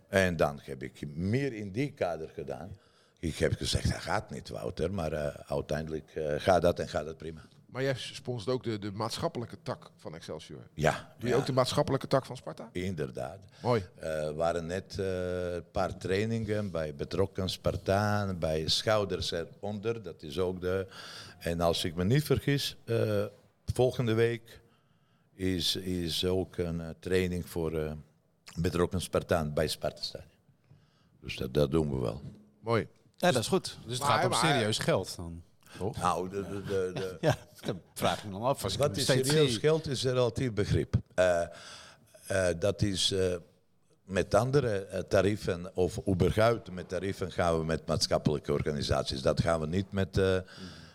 En dan heb ik meer in die kader gedaan. Ik heb gezegd, dat gaat niet, Wouter. Maar eh, uiteindelijk eh, gaat dat en gaat dat prima.
Maar jij sponsort ook de, de maatschappelijke tak van Excelsior.
Ja,
Doe je ook de maatschappelijke tak van Sparta?
inderdaad.
Mooi.
Eh, waren net eh, een paar trainingen bij betrokken Spartaan, bij schouders eronder. Dat is ook de. En als ik me niet vergis, eh, volgende week is, is ook een eh, training voor eh, betrokken Spartaan bij Sparta. Dus dat, dat doen we wel.
Mooi.
ja, dat is goed.
dus het
Maar-
gaat om
maar-
serieus geld dan. Toch?
Nou, de, de, de, de-
Ja.
Dat vraag ik me dan af. Als ik
Wat
hem
is
steeds
serieus
zie.
geld is een relatief begrip. Eh, eh, dat is eh, met andere eh, tarieven, of überhaupt met tarieven, gaan we met maatschappelijke organisaties. Dat gaan we niet met. eh,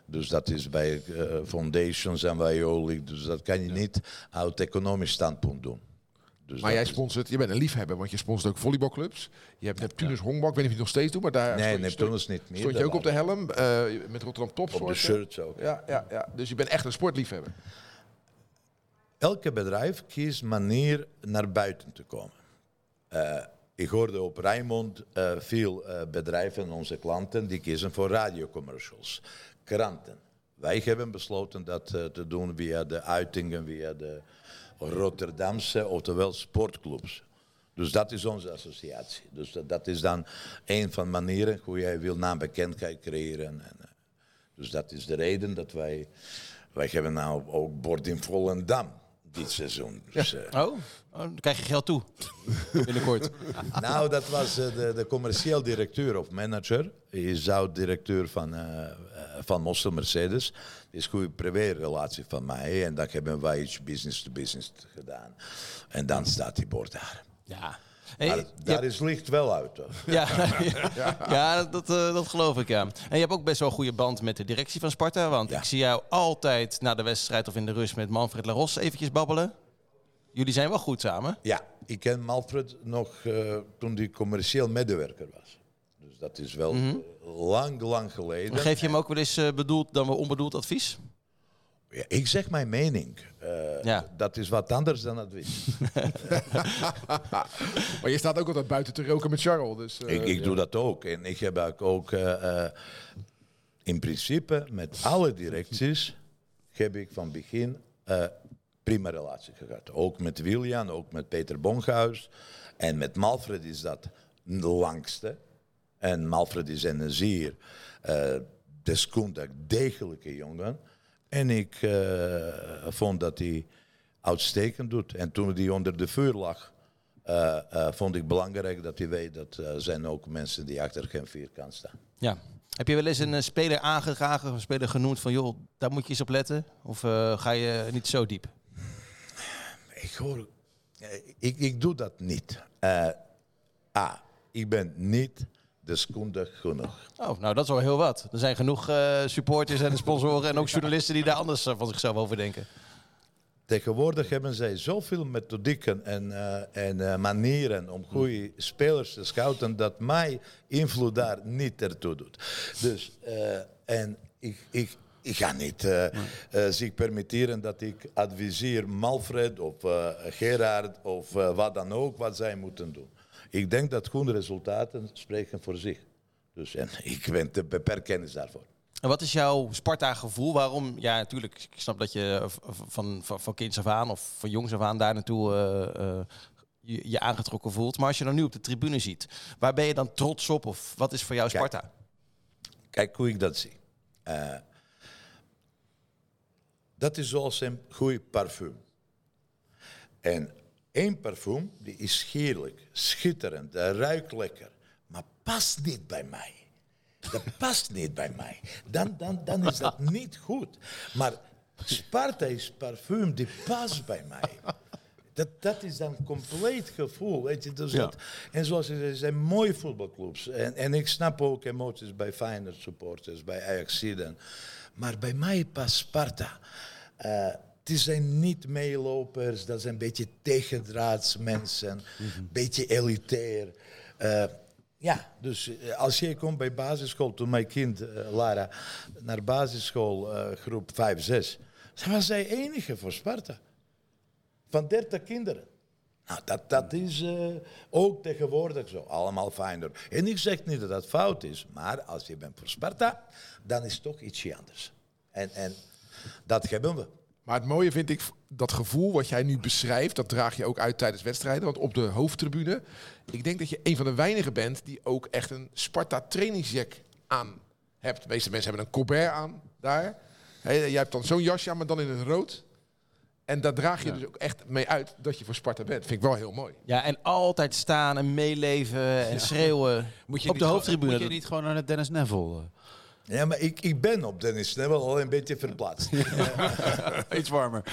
dus dat is bij eh, foundations en bij olie. Dus dat kan je niet uit economisch standpunt doen. Dus
Maar
dat
jij
is-
sponsort, je bent een liefhebber, want je sponsort ook volleybalclubs. Je hebt Neptunus Hongbak, ik weet niet of je het nog steeds doet, maar daar
Nee,
stond- stond-
Neptunus niet meer.
stond je
Dat
ook op de
waren-
helm eh, met Rotterdam Topsport.
op de shirts ook.
Ja, ja, ja, dus je bent echt een sportliefhebber.
Elke bedrijf kiest manier naar buiten te komen. Eh, ik hoorde op Rijnmond eh, veel eh, bedrijven, onze klanten, die kiezen voor radiocommercials, kranten. Wij hebben besloten dat eh, te doen via de uitingen, via de Rotterdamse, oftewel sportclubs. Dus dat is onze associatie. Dus dat, dat is dan een van manieren hoe jij wil naambekendheid creëren. En, eh, dus dat is de reden dat wij... Wij hebben nou ook bord in Volendam dit seizoen. Dus, eh,
Oh, oh, dan krijg je geld toe. Binnenkort.
nou, dat was eh, de, de commercieel directeur of manager. is oud-directeur van, eh, eh, van Mossel Mercedes. Die is een goede privé-relatie van mij. En dan hebben wij iets business-to-business gedaan. En dan staat die bord daar.
Ja. Hey, eh,
Maar
je
daar
hebt-
is licht wel uit. hoor.
ja, ja, ja, dat, eh, dat geloof ik, ja. En je hebt ook best wel een goede band met de directie van Sparta. Want
Ja.
ik zie jou altijd na de wedstrijd of in de rust met Manfred Laros eventjes babbelen. Jullie zijn wel goed samen.
Ja, ik ken Malfred nog eh, toen hij commercieel medewerker was. Dus dat is wel
Mhm.
eh, lang, lang geleden.
Geef je hem ook wel eens eh, bedoeld dan wel onbedoeld advies?
Ja, ik zeg mijn mening. Eh,
Ja.
Dat is wat anders dan advies.
Maar je staat ook altijd buiten te roken met Charles. Dus, eh,
Ik, ik doe dat ook. En ik heb ook- ook eh, eh, in principe met alle directies heb ik van begin eh prima relatie gehad. Ook met William, ook met Peter Bonkhuis. En met Malfred is dat de langste. En Malfred is een zeer eh deskundig, degelijke jongen. En ik eh, vond dat hij uitstekend doet. En toen hij onder de vuur lag, eh, eh, vond ik belangrijk dat hij weet dat eh, zijn ook mensen die achter geen vierkant staan.
Ja. Heb je wel eens een eh, speler aangedragen, of een speler genoemd van joh, daar moet je eens op letten? Of eh, ga je niet zo diep?
Ik hoor, eh, ik, ik doe dat niet. Eh, A, ik ben niet deskundig genoeg.
Oh, nou dat is wel heel wat. Er zijn genoeg eh, supporters en sponsoren en ook journalisten die daar anders eh, van zichzelf over denken.
Tegenwoordig hebben zij zoveel methodieken en, eh, en eh, manieren om goede spelers te scouten dat mijn invloed daar niet ertoe doet. Dus, eh, en ik, ik, ik ga niet eh, eh, zich permitteren dat ik adviseer Malfred of eh, Gerard of eh, wat dan ook wat zij moeten doen. Ik denk dat goede resultaten spreken voor zich. Dus en ik ben te beperkt kennis daarvoor.
En wat is jouw Sparta-gevoel? Waarom? Ja, natuurlijk, ik snap dat je eh, v- van, van, van kinds af aan of van jongs af aan daar naartoe eh, eh, je, je aangetrokken voelt. Maar als je dan nu op de tribune ziet, waar ben je dan trots op? Of wat is voor jou
Kijk.
Sparta?
Kijk hoe ik dat zie. Eh, dat is zoals een goed parfum. En één parfum die is heerlijk, schitterend, dat ruikt lekker, maar past niet bij mij. Dat past niet bij mij. Dan, dan, dan is dat niet goed. Maar Sparta is parfum die past bij mij. Dat, dat is dan compleet gevoel. Weet je, dus dat, en zoals je zei, zijn mooie voetbalclubs. En, en ik snap ook emoties bij Feyenoord supporters, bij Ajaxiden. Maar bij mij past Sparta. Eh, het zijn niet meelopers, dat zijn een beetje tegendraads mensen, een beetje elitair. Eh, ja, dus eh, als jij komt bij basisschool, toen mijn kind eh, Lara naar basisschool eh, groep 5, 6, ze was zij enige voor Sparta van 30 kinderen. Nou, dat, dat is eh, ook tegenwoordig zo. Allemaal Feyenoord. En ik zeg niet dat dat fout is, maar als je bent voor Sparta, dan is het toch ietsje anders. En, en dat hebben we.
Maar het mooie vind ik dat gevoel wat jij nu beschrijft, dat draag je ook uit tijdens wedstrijden. Want op de hoofdtribune, ik denk dat je een van de weinigen bent die ook echt een Sparta trainingsjack aan hebt. De meeste mensen hebben een Colbert aan daar. Hé, jij hebt dan zo'n jasje aan, maar dan in het rood. En daar draag je dus ook echt mee uit dat je voor Sparta bent. Vind ik wel heel mooi.
Ja, en altijd staan en meeleven en schreeuwen
Moet je
op
niet
de
gewoon-
hoofdtribune.
Moet je niet gewoon naar de Dennis Neville? eh?
Ja, maar ik, ik ben op Dennis Snell al een beetje verplaatst.
eh, Iets warmer.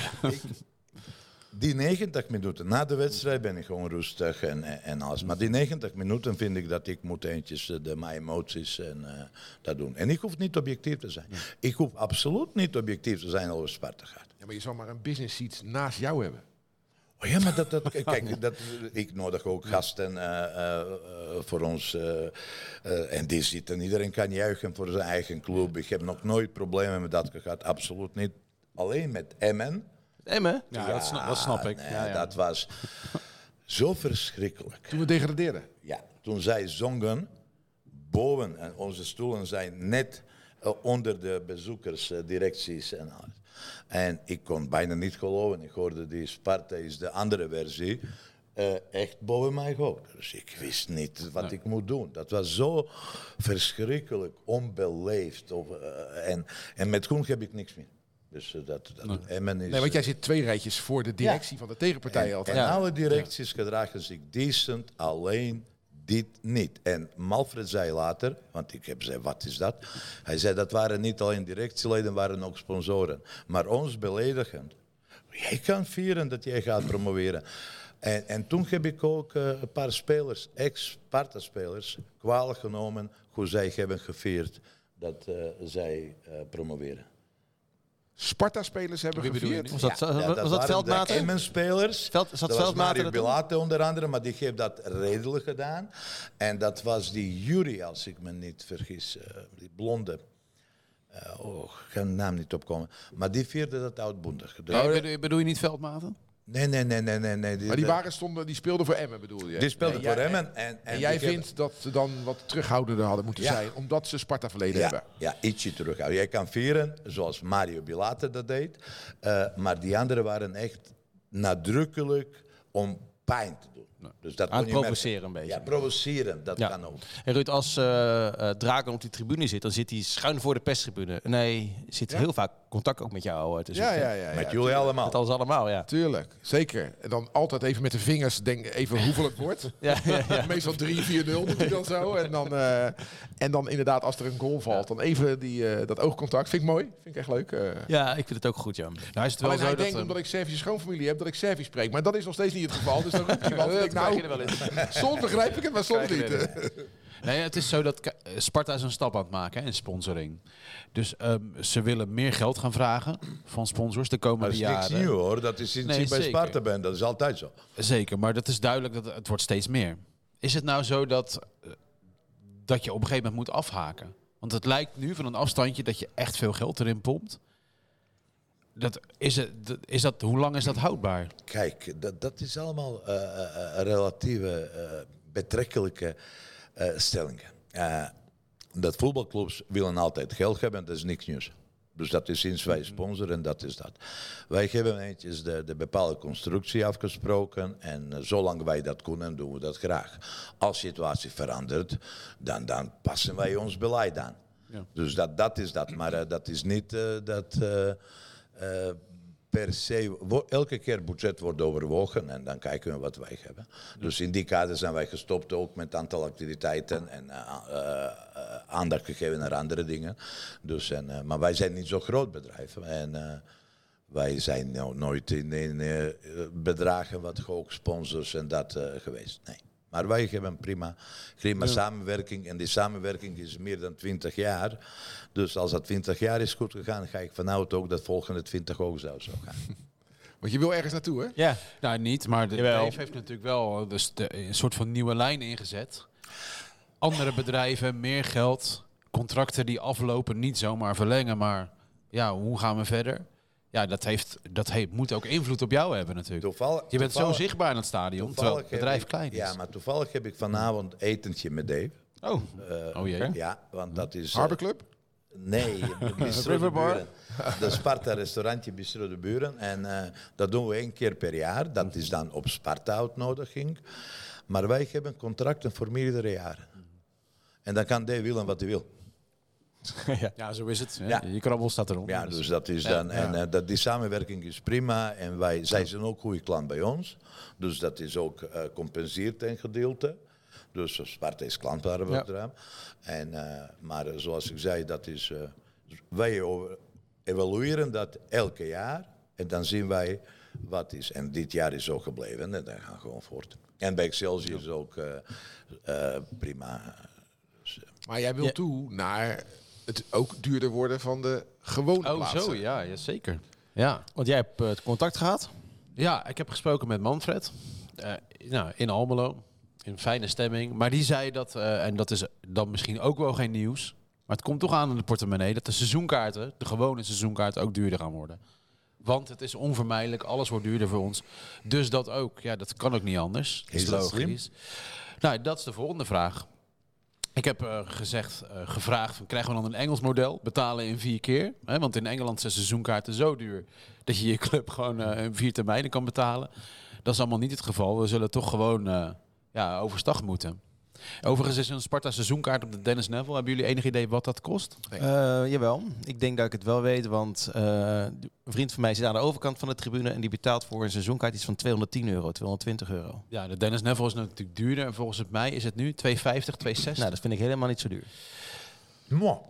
Die 90 minuten na de wedstrijd ben ik gewoon rustig en, en, en alles. Maar die 90 minuten vind ik dat ik moet eentjes eh, de, mijn emoties en eh, dat doen. En ik hoef niet objectief te zijn. Ik hoef absoluut niet objectief te zijn over Sparta gaat.
Ja, maar je zal maar een business seat naast jou hebben.
Oh ja, maar dat, dat, kijk, dat, ik nodig ook gasten eh, eh, eh, voor ons. eh, eh, en die zitten, iedereen kan juichen voor zijn eigen club. Ik heb nog nooit problemen met dat gehad, absoluut niet. Alleen met Emmen. Ah,
Emmen?
Ja, dat, snap, dat snap ik.
nee,
ja, ja.
Dat was zo verschrikkelijk.
Toen we degraderen.
Ja, toen zij zongen, boven en onze stoelen zijn net eh, onder de bezoekers, eh, directies en alles. En ik kon bijna niet geloven. Ik hoorde die Sparta is de andere versie. eh, echt boven mijn hoofd. Dus ik wist niet wat ik moet doen. Dat was zo verschrikkelijk onbeleefd. Of, eh, en, en met Groen heb ik niks meer. Dus eh, dat, dat Emmen is...
Nee, want jij zit twee rijtjes voor de directie van de tegenpartij altijd.
En alle directies gedragen zich decent, alleen dit niet. En Malfred zei later, want ik heb zei, wat is dat? Hij zei, dat waren niet alleen directieleden, waren ook sponsoren. Maar ons beledigend. Jij kan vieren dat jij gaat promoveren. En, en toen heb ik ook eh, een paar spelers, ex-Sparta-spelers, kwalijk genomen hoe zij hebben gevierd dat eh, zij eh, promoveren.
Sparta-spelers hebben
Wie bedoel je
gevierd.
nu?
Was dat, was dat
waren
veldmaten?
De Emmen-spelers.
Veld- zat
dat was
Veldmaten
Mario
er toen?
Bilate onder andere, maar die heeft dat redelijk gedaan. En dat was die Jury, als ik me niet vergis. eh, die blonde. Eh, oh, ik ga de naam niet opkomen. Maar die vierde dat uitbundig. Dus-
Nee, bedoel, bedoel je niet veldmaten?
Nee, nee, nee, nee. nee, nee
Nou, Maar die, waren stonden, die speelden voor Emmen, bedoel je?
die speelde
Nee,
voor
jij-
Emmen. En, en
En jij
die hebben-
vindt dat ze dan wat terughoudender hadden moeten
Ja.
zijn, omdat ze Sparta verleden hebben.
Ja, ja, ietsje terughouden. Jij kan vieren, zoals Mario Bilate dat deed. eh, maar die anderen waren echt nadrukkelijk om pijn te doen. Dus dat
Aan
kon
het
je
provoceren
merken.
een beetje.
Ja, provoceren, dat
Ja.
kan ook.
En Ruud, als eh eh, Draken op die tribune zit, dan zit hij schuin voor de perstribune. Nee, zit heel vaak contact ook met jou. eh, te
Ja,
zitten.
ja, ja.
Met
ja,
jullie allemaal.
Met ons allemaal, ja.
Tuurlijk, zeker. En dan altijd even met de vingers denken even hoeveel het wordt.
Ja, ja, ja.
Meestal 3-4-0 doet hij dan zo. En dan, eh, en dan inderdaad als er een goal valt, dan even die, eh, dat oogcontact. Vind ik mooi, vind ik echt leuk. eh.
ja, ik vind het ook goed, Jan.
Nou, is het wel
Alleen
zo
hij
dat,
denkt,
eh,
omdat Oh, ik Servische schoonfamilie heb, dat ik Servisch spreek. Maar dat is nog steeds niet het geval. Dus dan roept hij wat. Ik denk,
krijg je
nou,
er wel eens.
soms begrijp ik het, maar soms
Krijg je
niet. eh.
er wel Nee, het is zo dat K- eh, Sparta is een stap aan het maken hè, in sponsoring. Dus ehm, ze willen meer geld gaan vragen van sponsors de
Dat
Oh,
komende
is niks
jaren.
nieuw hoor, dat is iets
Nee,
je bij
zeker.
Sparta bent, dat is altijd zo.
Zeker, maar dat is duidelijk dat het wordt steeds meer. Is het nou zo dat, eh, dat je op een gegeven moment moet afhaken? Want het lijkt nu van een afstandje dat je echt veel geld erin pompt. Dat, is het, dat- is dat, hoe lang is dat houdbaar?
Kijk, dat, dat is allemaal eh, eh, eh, relatieve, eh, betrekkelijke eh, stellingen. Eh, dat voetbalclubs willen altijd geld hebben, dat is niks nieuws. Dus dat is sinds wij sponsoren, dat is dat. Wij hebben netjes de, de bepaalde constructie afgesproken en eh, zolang wij dat kunnen, doen we dat graag. Als de situatie verandert, dan, dan passen wij ons beleid aan. Dus dat, dat is dat, maar eh, dat is niet eh, dat eh, eh, per se, wo- elke keer budget wordt overwogen en dan kijken we wat wij hebben. Dus in die kader zijn wij gestopt ook met aantal activiteiten en eh, a- eh, eh, aandacht gegeven naar andere dingen. Dus en, eh, maar wij zijn niet zo'n groot bedrijf en eh, wij zijn nou nooit in, in eh, bedragen wat hoog sponsors en dat eh, geweest. Nee. Maar wij hebben prima, prima samenwerking. En die samenwerking is meer dan 20 jaar. Dus als dat 20 jaar is goed gegaan, ga ik vanuit ook dat volgende 20 ook zo zou gaan.
Want je wil ergens naartoe, hè?
Ja,
Nou, niet, maar de
Jawel.
Dave heeft natuurlijk wel eh, dus de, een soort van nieuwe lijn ingezet. Andere bedrijven, meer geld, contracten die aflopen, niet zomaar verlengen, maar ja, hoe gaan we verder? Ja, dat, heeft, dat heeft, moet ook invloed op jou hebben natuurlijk.
Toevallig-
je bent zo
toevallig-
zichtbaar in het stadion, terwijl het
heb
bedrijf
ik-
klein is.
Ja, maar toevallig heb ik vanavond etentje met Dave.
oh.
Eh,
oh jee.
Ja, want dat is... eh,
Harbor Club?
Nee, Bistro de Buren. De Sparta restaurantje Bistro de Buren. En eh, dat doen we één keer per jaar. Dat is dan op Sparta uitnodiging. Maar wij hebben contracten voor meerdere jaren. En dan kan Dave willen wat hij wil.
Ja, zo is het. hè.
Ja.
Je krabbel staat erom.
Ja, dus dat is dan. En eh, dat, die samenwerking is prima. En wij, zij zijn ook goede klant bij ons. Dus dat is ook eh compenseert een gedeelte. Dus eh, Sparta is klant waar we
Ja.
het raam. En, eh, maar eh, zoals ik zei, dat is. eh, wij over- evalueren dat elke jaar. En dan zien wij wat is. En dit jaar is zo gebleven. En dan gaan we gewoon voort. En bij Excelsior is ook eh, eh, prima.
Maar jij wil
Ja.
toe naar het ook duurder worden van de gewone
Oh,
plaatsen.
zo, ja, ja zeker. Ja.
want jij hebt eh, het contact gehad.
Ja, ik heb gesproken met Manfred. eh, nou, in Almelo. In fijne stemming. Maar die zei dat, eh, en dat is dan misschien ook wel geen nieuws. Maar het komt toch aan in de portemonnee dat de seizoenkaarten, de gewone seizoenkaarten, ook duurder gaan worden. Want het is onvermijdelijk, alles wordt duurder voor ons. Dus dat ook. Ja, dat kan ook niet anders.
Is dat slim?
Nou, dat is de volgende vraag. Ik heb eh, gezegd, eh, gevraagd, van, krijgen we dan een Engels model? Betalen in vier keer? Hè? Want in Engeland zijn seizoenkaarten zo duur dat je je club gewoon eh, in vier termijnen kan betalen. Dat is allemaal niet het geval. We zullen toch gewoon eh, ja, overstag moeten. Overigens is een Sparta seizoenkaart op de Dennis Neville. Hebben jullie enig idee wat dat kost?
Eh, jawel, ik denk dat ik het wel weet, want eh, een vriend van mij zit aan de overkant van de tribune en die betaalt voor een seizoenkaart iets van 210 euro, 220 euro.
Ja, de Dennis Neville is natuurlijk duurder. En volgens mij is het nu 2,50, 2,60.
Nou, dat vind ik helemaal niet zo duur.
Mo.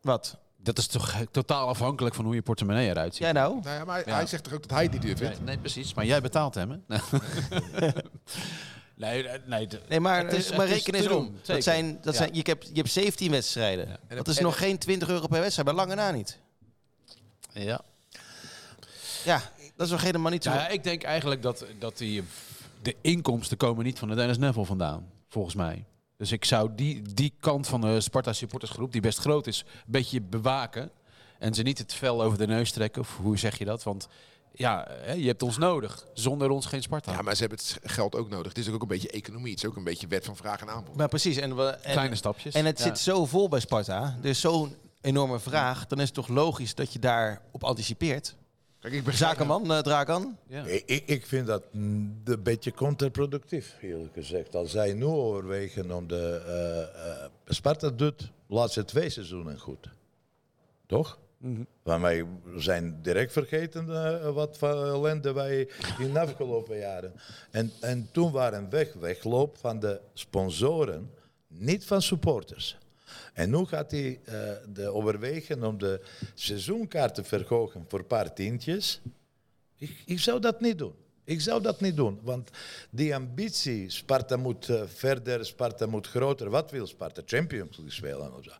Wat?
Dat is toch eh, totaal afhankelijk van hoe je portemonnee eruit ziet.
Jij nou?
Nou ja, maar hij, hij zegt toch ook dat hij die duur vindt?
Nee, nee, precies. Maar jij betaalt hem, hè? nee, eh, nee. de-
Nee, maar, eh,
Het is-
maar
het is
reken
te
eens
doen,
om.
zeker.
Dat zijn, dat
Ja.
zijn, je, hebt, je hebt 17 wedstrijden. Dat is
en
nog geen 20 euro per wedstrijd, bij lange na niet.
Ja.
Ja, dat is nog helemaal niet zo.
Ja, ik denk eigenlijk dat, dat die, de inkomsten komen niet van de Dennis Neville vandaan, volgens mij. Dus ik zou die, die kant van de Sparta supportersgroep, die best groot is, een beetje bewaken. En ze niet het vel over de neus trekken, of hoe zeg je dat? Want ja, hè, je hebt ons nodig. Zonder ons geen Sparta.
Ja, maar ze hebben het geld ook nodig. Het is ook een beetje economie. Het is ook een beetje wet van vraag en aanbod.
Maar precies. En, we, en,
Kleine stapjes.
En het
Ja.
zit zo vol bij Sparta. Er is zo'n enorme vraag. Dan is het toch logisch dat je daarop anticipeert.
Kijk, ik ben
Zakenman, eh Drakan.
Ik- Ik, ik vind dat mm, een beetje contraproductief, eerlijk gezegd. Als zij nu overwegen om de... eh, eh, Sparta doet de laatste twee seizoenen goed. Toch? Want wij zijn direct vergeten eh, wat voor ellende wij in de afgelopen jaren. En, en toen waren weg, wegloop van de sponsoren, niet van supporters. En nu gaat hij eh, de overwegen om de seizoenkaart te verhogen voor een paar tientjes. Ik, ik zou dat niet doen. Ik zou dat niet doen, want die ambitie, Sparta moet eh, verder, Sparta moet groter. Wat wil Sparta? Champions League spelen of zo.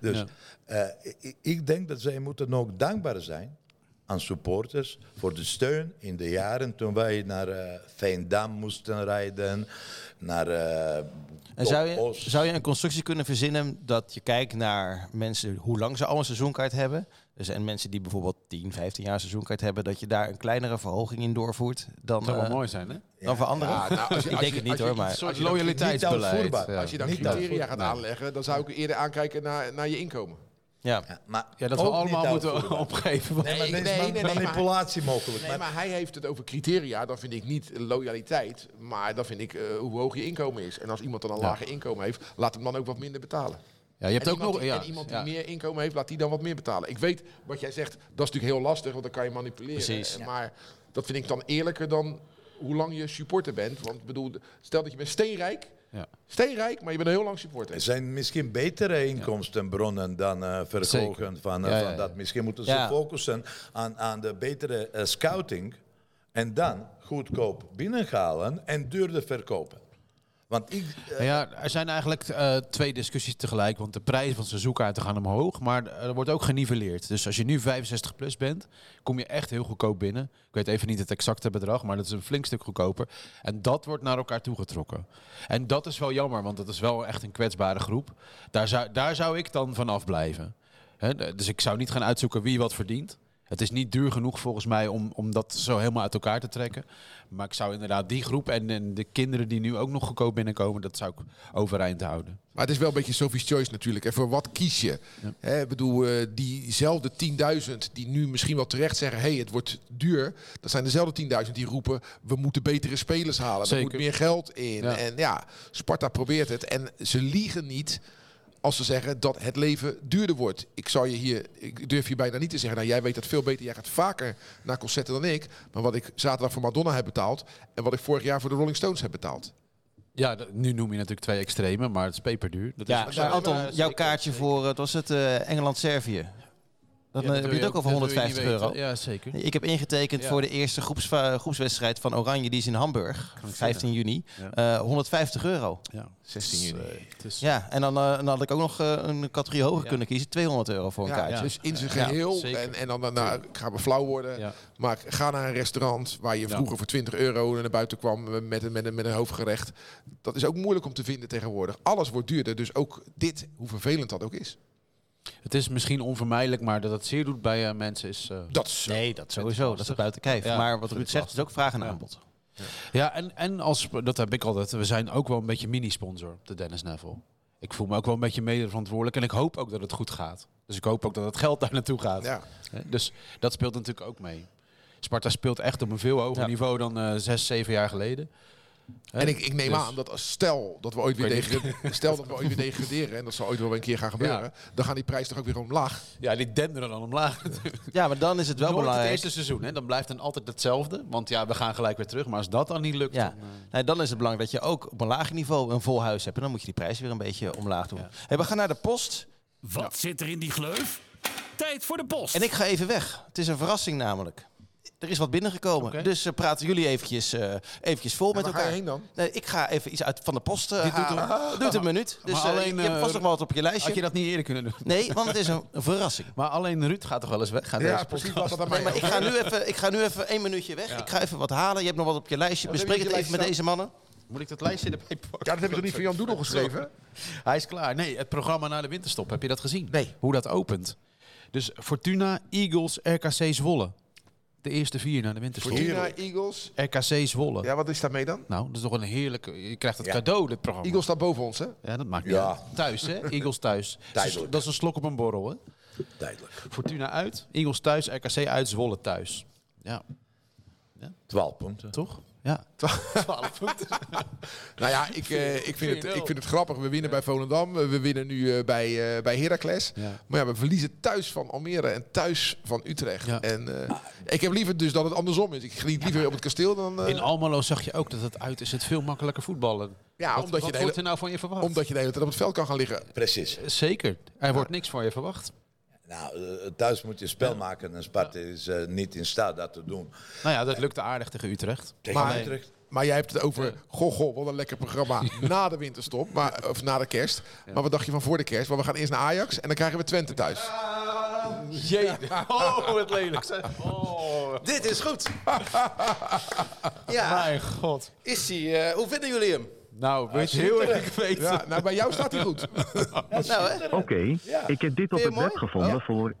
Dus eh, ik, ik denk dat zij moeten ook dankbaar zijn aan supporters voor de steun in de jaren toen wij naar eh Veendam moesten rijden, naar eh
En zou je,
Oost.
zou je een constructie kunnen verzinnen dat je kijkt naar mensen hoe lang ze al een seizoenkaart hebben? Dus en mensen die bijvoorbeeld 10, 15 jaar seizoenkaart hebben, dat je daar een kleinere verhoging in doorvoert dan,
dat zou wel
eh,
mooi zijn, hè?
dan voor anderen?
Ja, nou, als je-
ik
als
denk
je-
het niet
als je
hoor,
iets
maar.
zo-
Een soort
je dan-
niet
loyaliteitsbeleid.
uitvoerbaar.
Ja.
Als je dan
Niet
Nou.
criteria
uitvoerbaar.
gaat aanleggen, dan zou ik eerder aankijken naar, naar je inkomen.
Ja.
Ja, maar
Ja, dat
ook
we
niet
allemaal moeten
uitvoerbaar.
opgeven.
Nee, maar
Nee,
er is
nee,
ma-
nee, nee,
manipulatie mogelijk.
Nee,
maar
maar hij heeft het over criteria. Dan vind ik niet loyaliteit, maar dan vind ik eh, hoe hoog je inkomen is. En als iemand dan een lager inkomen heeft, laat hem dan ook wat minder betalen.
Ja, je hebt
en
ook
iemand,
nog...
die-
Ja,
en iemand die
ja.
meer inkomen heeft, laat die dan wat meer betalen. Ik weet wat jij zegt, dat is natuurlijk heel lastig, want dan kan je manipuleren.
Precies.
Eh, Maar dat vind ik dan eerlijker dan hoe lang je supporter bent. Want ik bedoel, stel dat je bent steenrijk,
Ja.
steenrijk, maar je bent heel lang
Er
supporter.
zijn misschien betere inkomstenbronnen dan eh verhogen van, eh,
Ja, ja,
van
ja.
dat. Misschien moeten ze
Ja.
focussen aan, aan de betere eh, scouting en dan goedkoop binnenhalen en duurder verkopen. Want ik, eh,
Nou ja, er zijn eigenlijk eh, twee discussies tegelijk. Want de prijzen van seizoenkaarten gaan omhoog. Maar er wordt ook geniveleerd. Dus als je nu 65 plus bent, kom je echt heel goedkoop binnen. Ik weet even niet het exacte bedrag, maar dat is een flink stuk goedkoper. En dat wordt naar elkaar toegetrokken. En dat is wel jammer, want dat is wel echt een kwetsbare groep. Daar zou, daar zou ik dan vanaf blijven. Hè, d- dus ik zou niet gaan uitzoeken wie wat verdient. Het is niet duur genoeg volgens mij om, om dat zo helemaal uit elkaar te trekken. Maar ik zou inderdaad die groep en, en de kinderen die nu ook nog goedkoop binnenkomen, dat zou ik overeind houden.
Maar het is wel een beetje Sophie's Choice natuurlijk. En voor wat kies je? Hè, ik bedoel, eh, diezelfde 10.000 die nu misschien wel terecht zeggen... hé, hey, het wordt duur. Dat zijn dezelfde 10.000 die roepen... we moeten betere spelers halen. Er
Zeker.
moet meer geld in.
Ja.
En ja, Sparta probeert het. En ze liegen niet als ze zeggen dat het leven duurder wordt. Ik, zou je hier, ik durf je bijna niet te zeggen... nou, jij weet dat veel beter. Jij gaat vaker naar concerten dan ik. Maar wat ik zaterdag voor Madonna heb betaald... en wat ik vorig jaar voor de Rolling Stones heb betaald.
Ja, d- nu noem je natuurlijk twee extreme, maar het is peperduur. Dat
Ja,
Dus-
is
maar Anton, jouw kaartje voor, eh, wat was het, eh, Engeland-Servië. Dan
Ja,
eh,
dat
heb
wil
je het ook
dat
over
wil je niet
150 euro.
weten. Ja, zeker.
Ik heb ingetekend
Ja.
voor de eerste groepsva- groepswedstrijd van Oranje, die is in Hamburg, 15 juni. eh, 150 euro.
Ja.
16 juni.
Dus, eh, Het is-
Ja, en dan, eh, dan had ik ook nog eh, een categorie hoger kunnen kiezen, 200 euro voor een
Ja,
kaartje.
Dus in zijn
Ja,
geheel.
zeker.
en, en dan daarna ik ga we flauw worden.
Ja.
Maar ga naar een restaurant waar je
Ja.
vroeger voor 20 euro naar buiten kwam met een, met, een, met een hoofdgerecht. Dat is ook moeilijk om te vinden tegenwoordig. Alles wordt duurder. Dus ook dit, hoe vervelend dat ook is.
Het is misschien onvermijdelijk, maar dat het zeer doet bij eh, mensen is... eh,
Dat is
Nee, dat sowieso, dat is buiten kijf.
Ja,
maar wat
vind
Ruud
ik
zegt is ook vraag en aanbod.
Ja, en, en als, dat heb ik altijd. We zijn ook wel een beetje mini-sponsor op de Dennis Neville. Ik voel me ook wel een beetje mede verantwoordelijk. En ik hoop ook dat het goed gaat. Dus ik hoop ook dat het geld daar naartoe gaat.
Ja.
Hè, Dus dat speelt natuurlijk ook mee. Sparta speelt echt op een veel hoger
Ja.
niveau dan eh, zes, zeven jaar geleden. Hè,
En ik, ik neem
dus-
aan dat als stel dat we ooit weer
Ik weet
degraderen, stel dat we ooit weer degraderen en dat zal ooit wel een keer gaan gebeuren, dan gaan die prijzen toch ook weer omlaag.
Ja, die denderen dan omlaag.
Ja, maar dan is het wel
Nooit het
belangrijk.
eerste seizoen, hè? dan blijft dan altijd hetzelfde. Want ja, we gaan gelijk weer terug. Maar als dat dan niet lukt...
Ja,
dan, eh,
nee, dan is het belangrijk dat je ook op een lager niveau een vol huis hebt. En dan moet je die prijs weer een beetje omlaag doen.
Ja.
Hey, we gaan naar de post.
Wat zit er in die gleuf? Tijd voor de post.
En ik ga even weg. Het is een verrassing namelijk. Er is wat binnengekomen.
Oké.
Dus eh, praten jullie eventjes, eh, eventjes vol met
waar ga
elkaar.
je heen dan?
Nee, ik ga even iets uit van de post eh,
Dit doet
halen. Doet, een minuut. Dus eh,
alleen,
je hebt vast
eh,
nog wel wat op je lijstje.
Had je dat niet eerder kunnen doen?
Nee, want het is een, een verrassing.
Maar alleen Ruud gaat toch wel eens weg? Gaat deze podcast?
Wat dat aan mij
Nee, maar
ook.
ik ga, nu even, ik ga nu even één minuutje weg. Ik ga even wat halen. Je hebt nog wat op je lijstje.
heb je
Bespreek het
op je
even met
lijstje
deze mannen.
Moet ik dat lijstje erbij pakken?
Ja, dat heb ik toch niet voor Jan Doedel geschreven?
Hij is klaar. Nee, het programma na de winterstop, heb je dat gezien?
Nee.
Hoe dat opent. Dus Fortuna, Eagles, RKC Zwolle. De eerste vier na de winterstop.
Fortuna, Eagles.
RKC Zwolle.
Ja, wat is daarmee dan?
Nou, dat is toch een heerlijke... Je krijgt het cadeau, dit programma.
Eagles staat boven ons, hè?
Ja, dat maakt niet
Ja.
uit. Thuis, hè? Eagles thuis.
Tijdelijk.
Dat is een slok op een borrel, hè?
tijdelijk.
Fortuna uit, Eagles thuis, RKC uit, Zwolle thuis. Ja,
12 punten.
toch? Ja. 12 punten.
Nou ja, ik, eh, ik, vind het, ik vind het grappig. We winnen bij Volendam. We winnen nu eh, bij, eh, bij Heracles.
Ja.
Maar ja, we verliezen thuis van Almere en thuis van Utrecht.
Ja.
En eh, ik heb liever dus dat het andersom is. Ik geniet liever op het kasteel dan... eh,
In Almelo zag je ook dat het uit is het veel makkelijker voetballen.
Ja, omdat
Wat-
je
wat
de
wordt er
hele-
nou van je verwacht?
omdat je de hele tijd op het veld kan gaan liggen.
Precies.
Zeker. Er wordt niks van je verwacht.
Nou, eh, thuis moet je spel maken en Sparta is eh, niet in staat dat te doen.
Nou ja, dat lukte aardig tegen Utrecht.
Tegen
Maar-
Utrecht.
Maar jij hebt het over, goh, goh, wat een lekker programma na de winterstop. Maar, of na de kerst. Maar wat dacht je van voor de kerst? Want we gaan eerst naar Ajax en dan krijgen we Twente thuis.
Jee. Oh, wat lelijk. zeg. Oh.
Dit is goed.
Mijn god.
Is hij? eh, hoe vinden jullie hem?
Nou, weet je heel erg weten.
Ja, nou, bij jou staat hij goed.
Nou, hè?
Oké, ik heb dit op
Vind je
het
mooi?
web gevonden
Oh.
voor...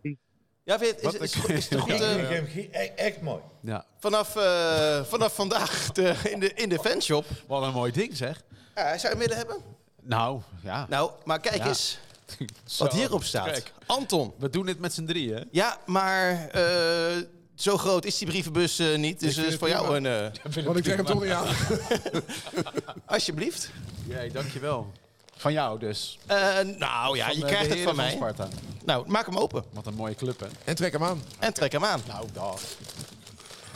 Ja, vind je het- is, is, is, het goed?
Ik
eh,
vind hem ge- e- echt mooi.
Ja.
vanaf, eh, vanaf vandaag de, in, de, in de fanshop.
Wat een mooi ding zeg.
Ja, zou je hem willen hebben?
Nou, ja.
Nou, maar kijk
Ja.
eens. Wat hierop staat. Anton.
We doen dit met z'n drieën. hè?
Ja, maar eh, zo groot is die brievenbus eh, niet. Dus het is voor jou een... eh,
Want ik zeg hem toch niet aan.
alsjeblieft.
Jij, dankjewel. Van jou dus.
Eh, nou ja,
Van,
je
eh,
krijgt het
de heren
van mij.
Sparta.
Nou, maak hem open.
Wat een mooie club, hè?
En trek hem aan.
En trek hem aan.
Nou, dag.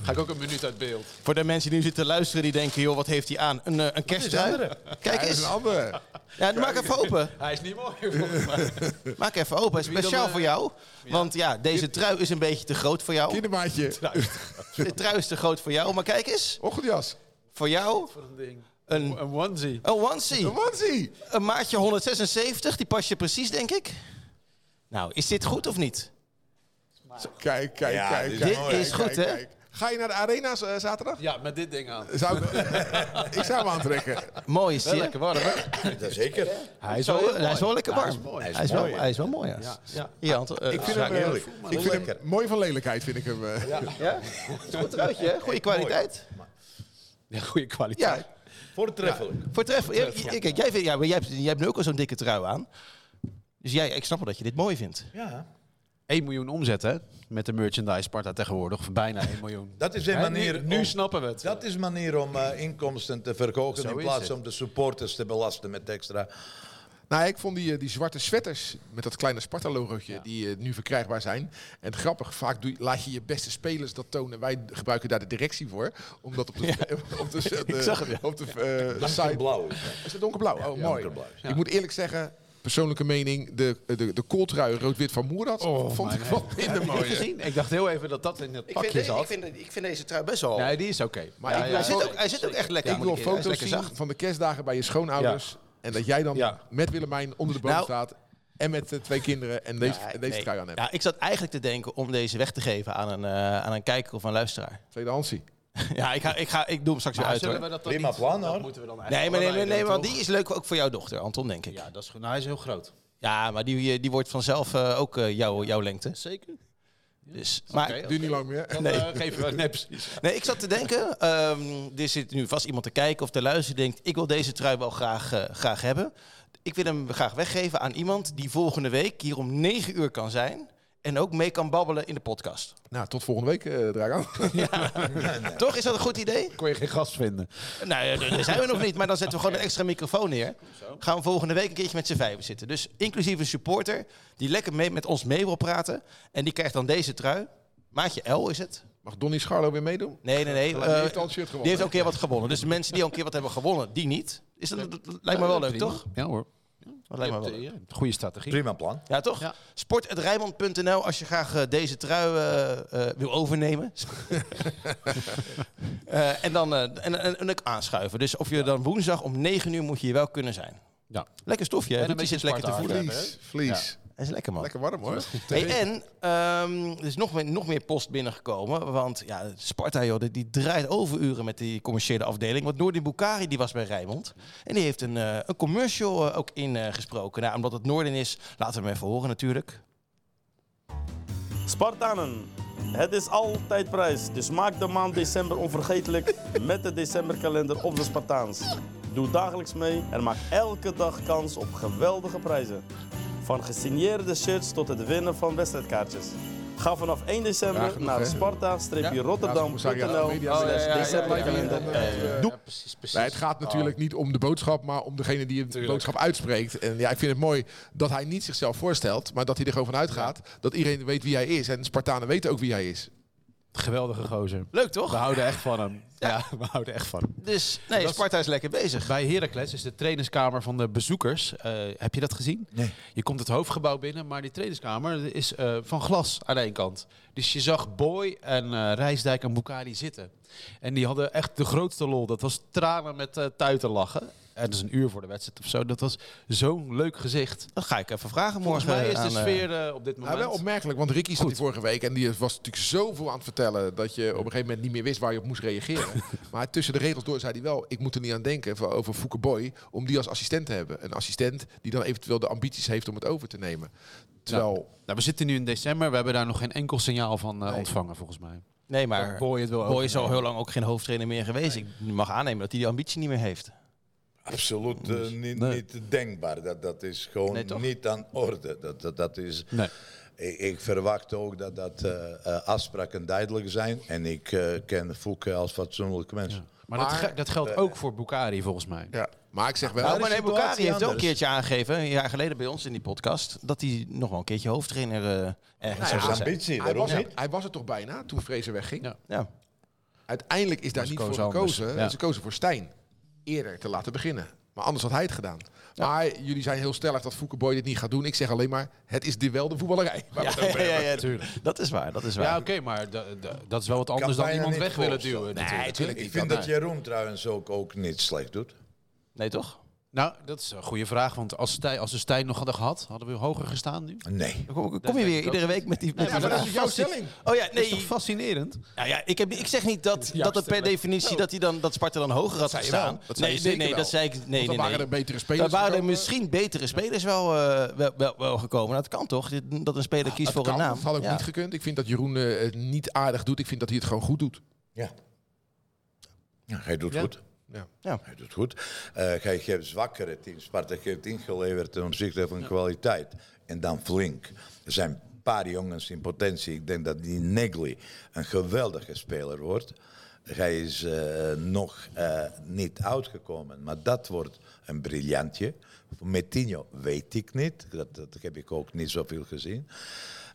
Ga ik ook een minuut uit beeld.
Voor de mensen die nu zitten te luisteren, die denken, joh, wat heeft hij aan? Een, eh, een kersttrui? Kijk
Dat is
eens.
een andere.
Ja, maak even open.
Hij is niet mooi, volgens mij.
Maak even open. Speciaal voor jou. Want ja, deze trui is een beetje te groot voor jou.
Kindermaatje.
De trui is te groot voor jou. Maar kijk eens.
Ochtendjas.
Voor jou een,
Een onesie.
een onesie.
Een onesie.
Een maatje 176. Die past je precies, denk ik. Nou, is dit goed of niet?
Kijk, kijk,
Ja,
kijk.
dit
kijk,
is
kijk,
goed,
kijk,
hè?
kijk. Ga je naar de arena's eh, zaterdag?
Ja, met dit ding aan.
Zou ik, ik zou hem aantrekken.
Mooi is die, hè?
Lekker warm, hè?
Dat zeker.
Hij is
Zo,
heel
hij is wel
mooi.
lekker
Hij is
warm.
mooi.
Hij is wel,
mooi, hè?
hij is wel mooi, ja. ja.
ja.
Anton, eh,
Ik vind hem heerlijk.
Ik vind hem mooi van lelijkheid, vind ik hem. eh.
ja? Is een Goed truitje, hè? Goede kwaliteit.
Ja, goede kwaliteit.
Ja,
Voortreffelijk.
voortreffelijk. Ja, ja, kijk, jij, vindt, ja, maar jij, hebt, jij hebt nu ook al zo'n dikke trui aan. Dus jij, ik snap wel dat je dit mooi vindt.
1 miljoen omzet, hè? Met de merchandise Sparta tegenwoordig. Of bijna 1 miljoen.
Dat is een
Hè, nu-
manier.
Nu
om-
snappen we het.
Dat is een manier om eh, inkomsten te verhogen
Zo
in
is
plaats
het.
om de supporters te belasten met extra.
Nou, ik vond die, eh, die zwarte sweaters met dat kleine Sparta-logootje die eh, nu verkrijgbaar zijn. En grappig, vaak doe, laat je je beste spelers dat tonen. Wij gebruiken daar de directie voor. Omdat op de, op de, de- op de, eh, site...
Blauw.
Is het donkerblauw? Oh, mooi.
donkerblauw,
Ik moet eerlijk zeggen, persoonlijke mening, de, eh, de, de kooltrui rood-wit van Moerad vond ik wat minder mooi. hè.
gezien. Ik dacht heel even dat dat in het pakje zat.
deze trui best wel...
Nee, die is oké.
Maar
Ja,
ik-
ja,
wij
hij,
ja.
zit ook, hij zit ook echt lekker.
Ik wil
moet eerlijk- hij
foto's
is
zien
lekker zacht.
van de kerstdagen bij je schoonouders. En dat jij dan
Ja.
met Willemijn onder de boom
Nou.
staat. En met eh, twee kinderen en deze, en deze
Nee.
trui aan hebt.
Ja, ik zat eigenlijk te denken om deze weg te geven aan een, eh, aan een kijker of een luisteraar.
Tweedehandsie.
ja, ik, ga, ik, ga, ik doe hem straks
Maar
weer uit
zullen
hoor.
we dat dan
Prima
niet-
plan,
dat
hoor.
moeten we dan
Nee,
eigenlijk
maar nee, nee,
allebei
nee,
doen,
want
toch?
die is leuk ook voor jouw dochter, Anton, denk ik. Ja,
Ja, dat is goed. Nou, hij is heel groot.
maar die, eh, die wordt vanzelf eh, ook eh, jouw- jouw lengte.
Zeker.
Dus, maar
Oké.
Duurt niet lang meer.
Dan
Nee.
nee. geven we... Nee, precies.
nee, ik zat te denken, ehm, er zit nu vast iemand te kijken of te luisteren die denkt, ik wil deze trui wel graag, eh, graag hebben. Ik wil hem graag weggeven aan iemand die volgende week hier om 9 uur kan zijn en ook mee kan babbelen in de podcast.
Nou, tot volgende week, eh Dragan.
Toch, is dat een goed idee?
Kon je geen gast vinden.
Nou, ja, daar daar zijn we nog niet, maar dan zetten we gewoon een extra microfoon neer. Gaan we volgende week een keertje met z'n vijven zitten. Dus inclusief een supporter die lekker mee, met ons mee wil praten. En die krijgt dan deze trui. Maatje L is het.
Mag Donny Scharlo weer meedoen?
Nee, nee, nee.
die
eh,
heeft al het shirt gewonnen.
Die heeft al een keer wat gewonnen. Dus de mensen die al een keer wat hebben gewonnen, die niet. Is dat, dat lijkt me wel leuk, toch?
Ja hoor.
Dat lijkt me wel leuk.
Ja, Goede strategie.
Prima plan.
Ja, toch?
Ja.
Sport.rijmond.nl als je graag eh, deze trui eh, eh, wil overnemen. Eh, en dan eh, en, en, en ook aanschuiven. Dus of je dan woensdag om 9 uur moet je hier wel kunnen zijn.
Ja.
Lekker stofje, hè?
En
Die
een beetje
zit lekker te
Sparta
voelen.
hardlopen,
Vlies, vlies.
Dat is lekker, man.
Lekker warm hoor.
Hey, en ehm, er is nog meer, nog meer post binnengekomen. Want ja, Sparta joh, die, die draait overuren met die commerciële afdeling. Want Noordin Bukari die was bij Rijnmond. En die heeft een, eh, een commercial eh, ook ingesproken. nou, omdat het Noordin is, laten we hem even horen natuurlijk.
Spartanen, het is altijd prijs, dus maak de maand december onvergetelijk met de decemberkalender op de Spartaans. Doe dagelijks mee en maak elke dag kans op geweldige prijzen. Van gesigneerde shirts tot het winnen van wedstrijdkaartjes. Ga vanaf 1
Ja,
december
genoeg, hè?
naar
Ja, sorry, ja,
sparta-rotterdam.nl
media- Oh, ja, ja, ja, ja, ja, ja.
decemberkalender.
Doe. Precies, precies.
Nee, het gaat natuurlijk niet om de boodschap, maar om degene die de boodschap uitspreekt. En ja, ik vind het mooi dat hij niet zichzelf voorstelt, maar dat hij er gewoon vanuit gaat dat iedereen weet wie hij is. En Spartanen weten ook wie hij is.
Geweldige gozer.
Leuk
We
toch?
houden echt van hem. Ja, we houden echt van hem.
Dus nee, Sparta is lekker bezig.
Bij Heracles is de trainingskamer van de bezoekers. eh, heb je dat gezien?
Nee.
Je komt het hoofdgebouw binnen, maar die trainingskamer is eh, van glas aan één kant. Dus je zag Boy en eh, Rijsdijk en Bukari zitten. En die hadden echt de grootste lol. Dat was tranen met eh tuiten lachen. En dat is een uur voor de wedstrijd of zo. Dat was zo'n leuk gezicht.
Dat ga ik even vragen
Volgens
morgen.
mij is de
aan, eh,
sfeer eh, op dit
Nou,
moment...
wel opmerkelijk, want Ricky stond hier vorige week en die was natuurlijk zoveel aan het vertellen dat je op een gegeven moment niet meer wist waar je op moest reageren. maar tussen de regels door zei hij wel, ik moet er niet aan denken van- over Fouke Boy, om die als assistent te hebben. Een assistent die dan eventueel de ambities heeft om het over te nemen. Terwijl,
Nou, we zitten nu in december. We hebben daar nog geen enkel signaal van eh, ontvangen, volgens mij.
Nee, maar
Dat Boy het wel
Boy is al heel lang ook geen hoofdtrainer meer geweest. Ik mag aannemen dat hij die ambitie niet meer heeft. Nou,
absoluut eh, niet,
nee.
niet denkbaar. Dat, dat is gewoon
Nee, toch?
niet aan orde. Dat, dat, dat is,
Nee.
ik, ik verwacht ook dat, dat eh, eh, afspraken duidelijk zijn. En ik eh, ken Fouke als fatsoenlijk mens.
Maar, dat, ge- dat geldt ook voor Bukari volgens mij.
Ja. Maar ik zeg wel,
Nou,
de
maar nee,
situatie
Bukhari heeft ook een
anders.
keertje aangegeven, een jaar geleden bij ons in die podcast, dat hij nog wel een keertje hoofdtrainer eh, ergens zou
Dat is
zijn.
ambitie,
hij,
waarom
was
niet?
er, hij was er toch bijna toen Vrezen wegging?
Ja.
Ja.
Uiteindelijk is daar
Dus
niet
koos
voor
anders.
gekozen.
Ja.
Ze kozen voor Stijn. Eerder te laten beginnen. Maar anders had hij het gedaan. Maar jullie zijn heel stellig dat Foukeboy dit niet gaat doen. Ik zeg alleen maar, het is dit wel de voetballerij. waar we
Ja,
het
ja,
over
ja,
hebben.
ja,
Tuurlijk.
dat is waar, dat is waar.
Ja, oké, maar da- da- dat is wel wat anders dan
bijna
iemand
niet
weg willen
voorstellen.
duwen.
Nee,
natuurlijk.
natuurlijk
Ik
niet.
vind
Ja.
dat Jeroen trouwens ook, ook niet slecht doet.
Nee, toch?
Nou, dat is een goede vraag, want als, Stijn, als ze Stijn nog hadden gehad, hadden we hoger gestaan nu.
Nee.
Dan Kom, kom je weer iedere week met die... Met
maar
die
dat is jouw stelling.
Oh ja,
Dat is
nee.
toch fascinerend?
Nou ja, ik, heb, ik zeg niet dat, dat het per definitie dat, hij dan, dat Sparta dan hoger had
je wel.
gestaan.
Oh. Dat zei
Nee,
je
nee,
zeker
nee,
wel.
dat zei ik... Nee, nee,
Want dan waren
nee.
er betere spelers
Daar waren er
gekomen.
misschien betere spelers wel, eh, wel, wel, wel gekomen. Nou, dat kan toch? Dit- Dat een speler kiest
Dat
voor een
kan,
naam.
dat had ook
Ja.
niet gekund. Ik vind dat Jeroen eh, het niet aardig doet. Ik vind dat hij het gewoon goed doet.
Ja. ja hij doet goed.
Ja.
Hij doet goed. Eh, hij geeft zwakkere teams. Sparta heeft ingeleverd ten opzichte van kwaliteit. En dan flink. Er zijn een paar jongens in potentie. Ik denk dat die Negli een geweldige speler wordt. Hij is eh, nog eh, niet uitgekomen. Maar dat wordt een briljantje. Metinho weet ik niet. Dat, dat heb ik ook niet zoveel gezien.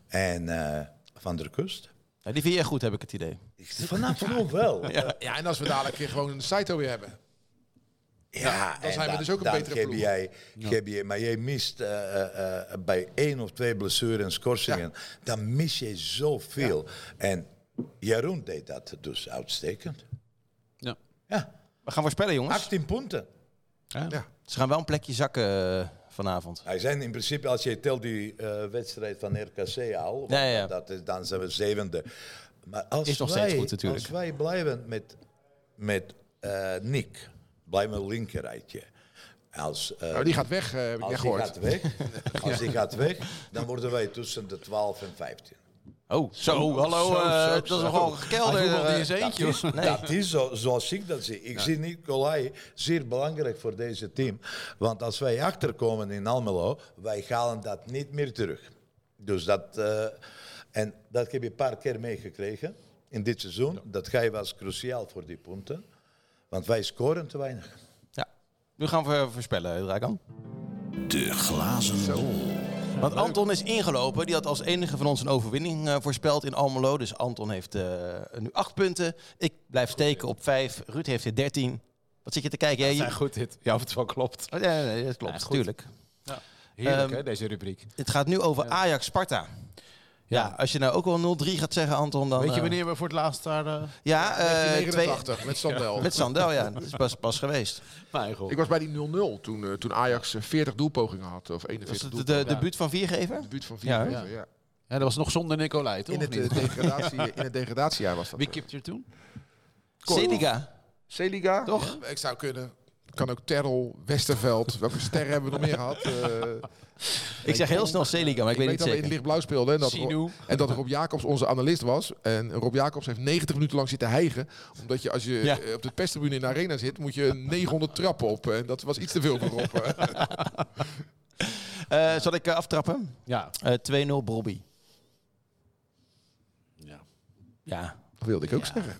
En eh, Van der Kust.
Nou, die vind jij goed, heb ik het idee.
Ik- Vanaf nu wel.
Ja, en als we dadelijk weer gewoon een Saito weer hebben.
Ja,
dan
en
zijn we dus ook een
dan
betere
heb
ploeg.
Jij, heb je, maar jij mist eh, eh, eh, bij één of twee blessures en schorsingen, dan mis je zoveel. En Jeroen deed dat dus uitstekend.
Ja.
Ja,
We gaan voorspellen,
Ah.
jongens.
18 punten.
Ze gaan wel een plekje zakken eh, vanavond.
Hij zijn in principe, als je telt die eh, wedstrijd van RKC al, want
Ja, ja.
Dat is, dan zijn we zevende. Maar als
Is nog
wij,
steeds goed natuurlijk.
Als wij blijven met, met eh, Nick, blijven een linkerrijtje. Als, eh,
Nou, die gaat weg,
Oh,
eh, heb ik net
Als hij
gehoord.
gaat weg, als hij gaat weg, dan worden wij tussen de 12 en 15.
Oh, zo, hallo.
zo,
eh,
zo,
dat is
zo.
nogal gekelder.
Hij voetbalde
eh.
in zijn eentje.
Dat is-
hoor.
Nee.
Dat is zo, zoals ik dat zie. Ik zie Nicolai zeer belangrijk voor deze team. Want als wij achterkomen in Almelo, wij halen dat niet meer terug. Dus dat, eh, en dat heb je een paar keer meegekregen in dit seizoen. Dat hij was cruciaal voor die punten. Want wij scoren te weinig.
Ja. Nu gaan we voorspellen, Dragan.
De glazen bol.
Want Anton is ingelopen. Die had als enige van ons een overwinning eh, voorspeld in Almelo. Dus Anton heeft eh, nu acht punten. Ik blijf steken op vijf. Ruud heeft er dertien. Wat zit je te kijken? hè?
Ja, goed dit. Ja, of het wel klopt.
Oh, Ja, nee, dat klopt,
Ja, goed.
tuurlijk.
Heerlijk,
Ehm,
hè, deze rubriek.
Het gaat nu over Ajax-Sparta. Ja. als je nou ook wel 0-3 gaat zeggen, Anton, dan...
Weet je
eh,
wanneer we voor het laatst daar... eh
Ja, eh twee,
89 met Sandel.
met Sandel, ja. Dat is pas, pas geweest.
mijn god.
Ik was bij die 0-0 toen, eh, toen Ajax eh, 40 doelpogingen had. Of
Dat is
41
de, de,
doelpogingen.
de debuut van Viergever.
De buurt van
Ja,
4
hè? Ja, dat was nog zonder Nicolai, toch?
In, het,
Of
eh,
niet?
degradatie, in het degradatiejaar was dat. eh.
Wie kipt er toen?
Sediga.
C-Liga?
Toch?
Ja, ik zou kunnen. Kan ook Terrel, Westerveld. Welke sterren hebben we nog meer gehad? Eh,
Ik zeg heel snel Seliga, maar ik,
Ik
weet
weet
niet
dat we in
zeker.
lichtblauw speelden en dat,
Sinu.
en dat Rob Jacobs onze analist was. En Rob Jacobs heeft 90 minuten lang zitten hijgen. Omdat je als je
Ja.
eh, op de pestribune in de arena zit, moet je 900 trappen op. En dat was iets te veel voor Rob.
Eh, zal ik eh, aftrappen?
Ja.
Eh, 2-0 Bobby.
ja.
Ja.
dat wilde ik ook zeggen.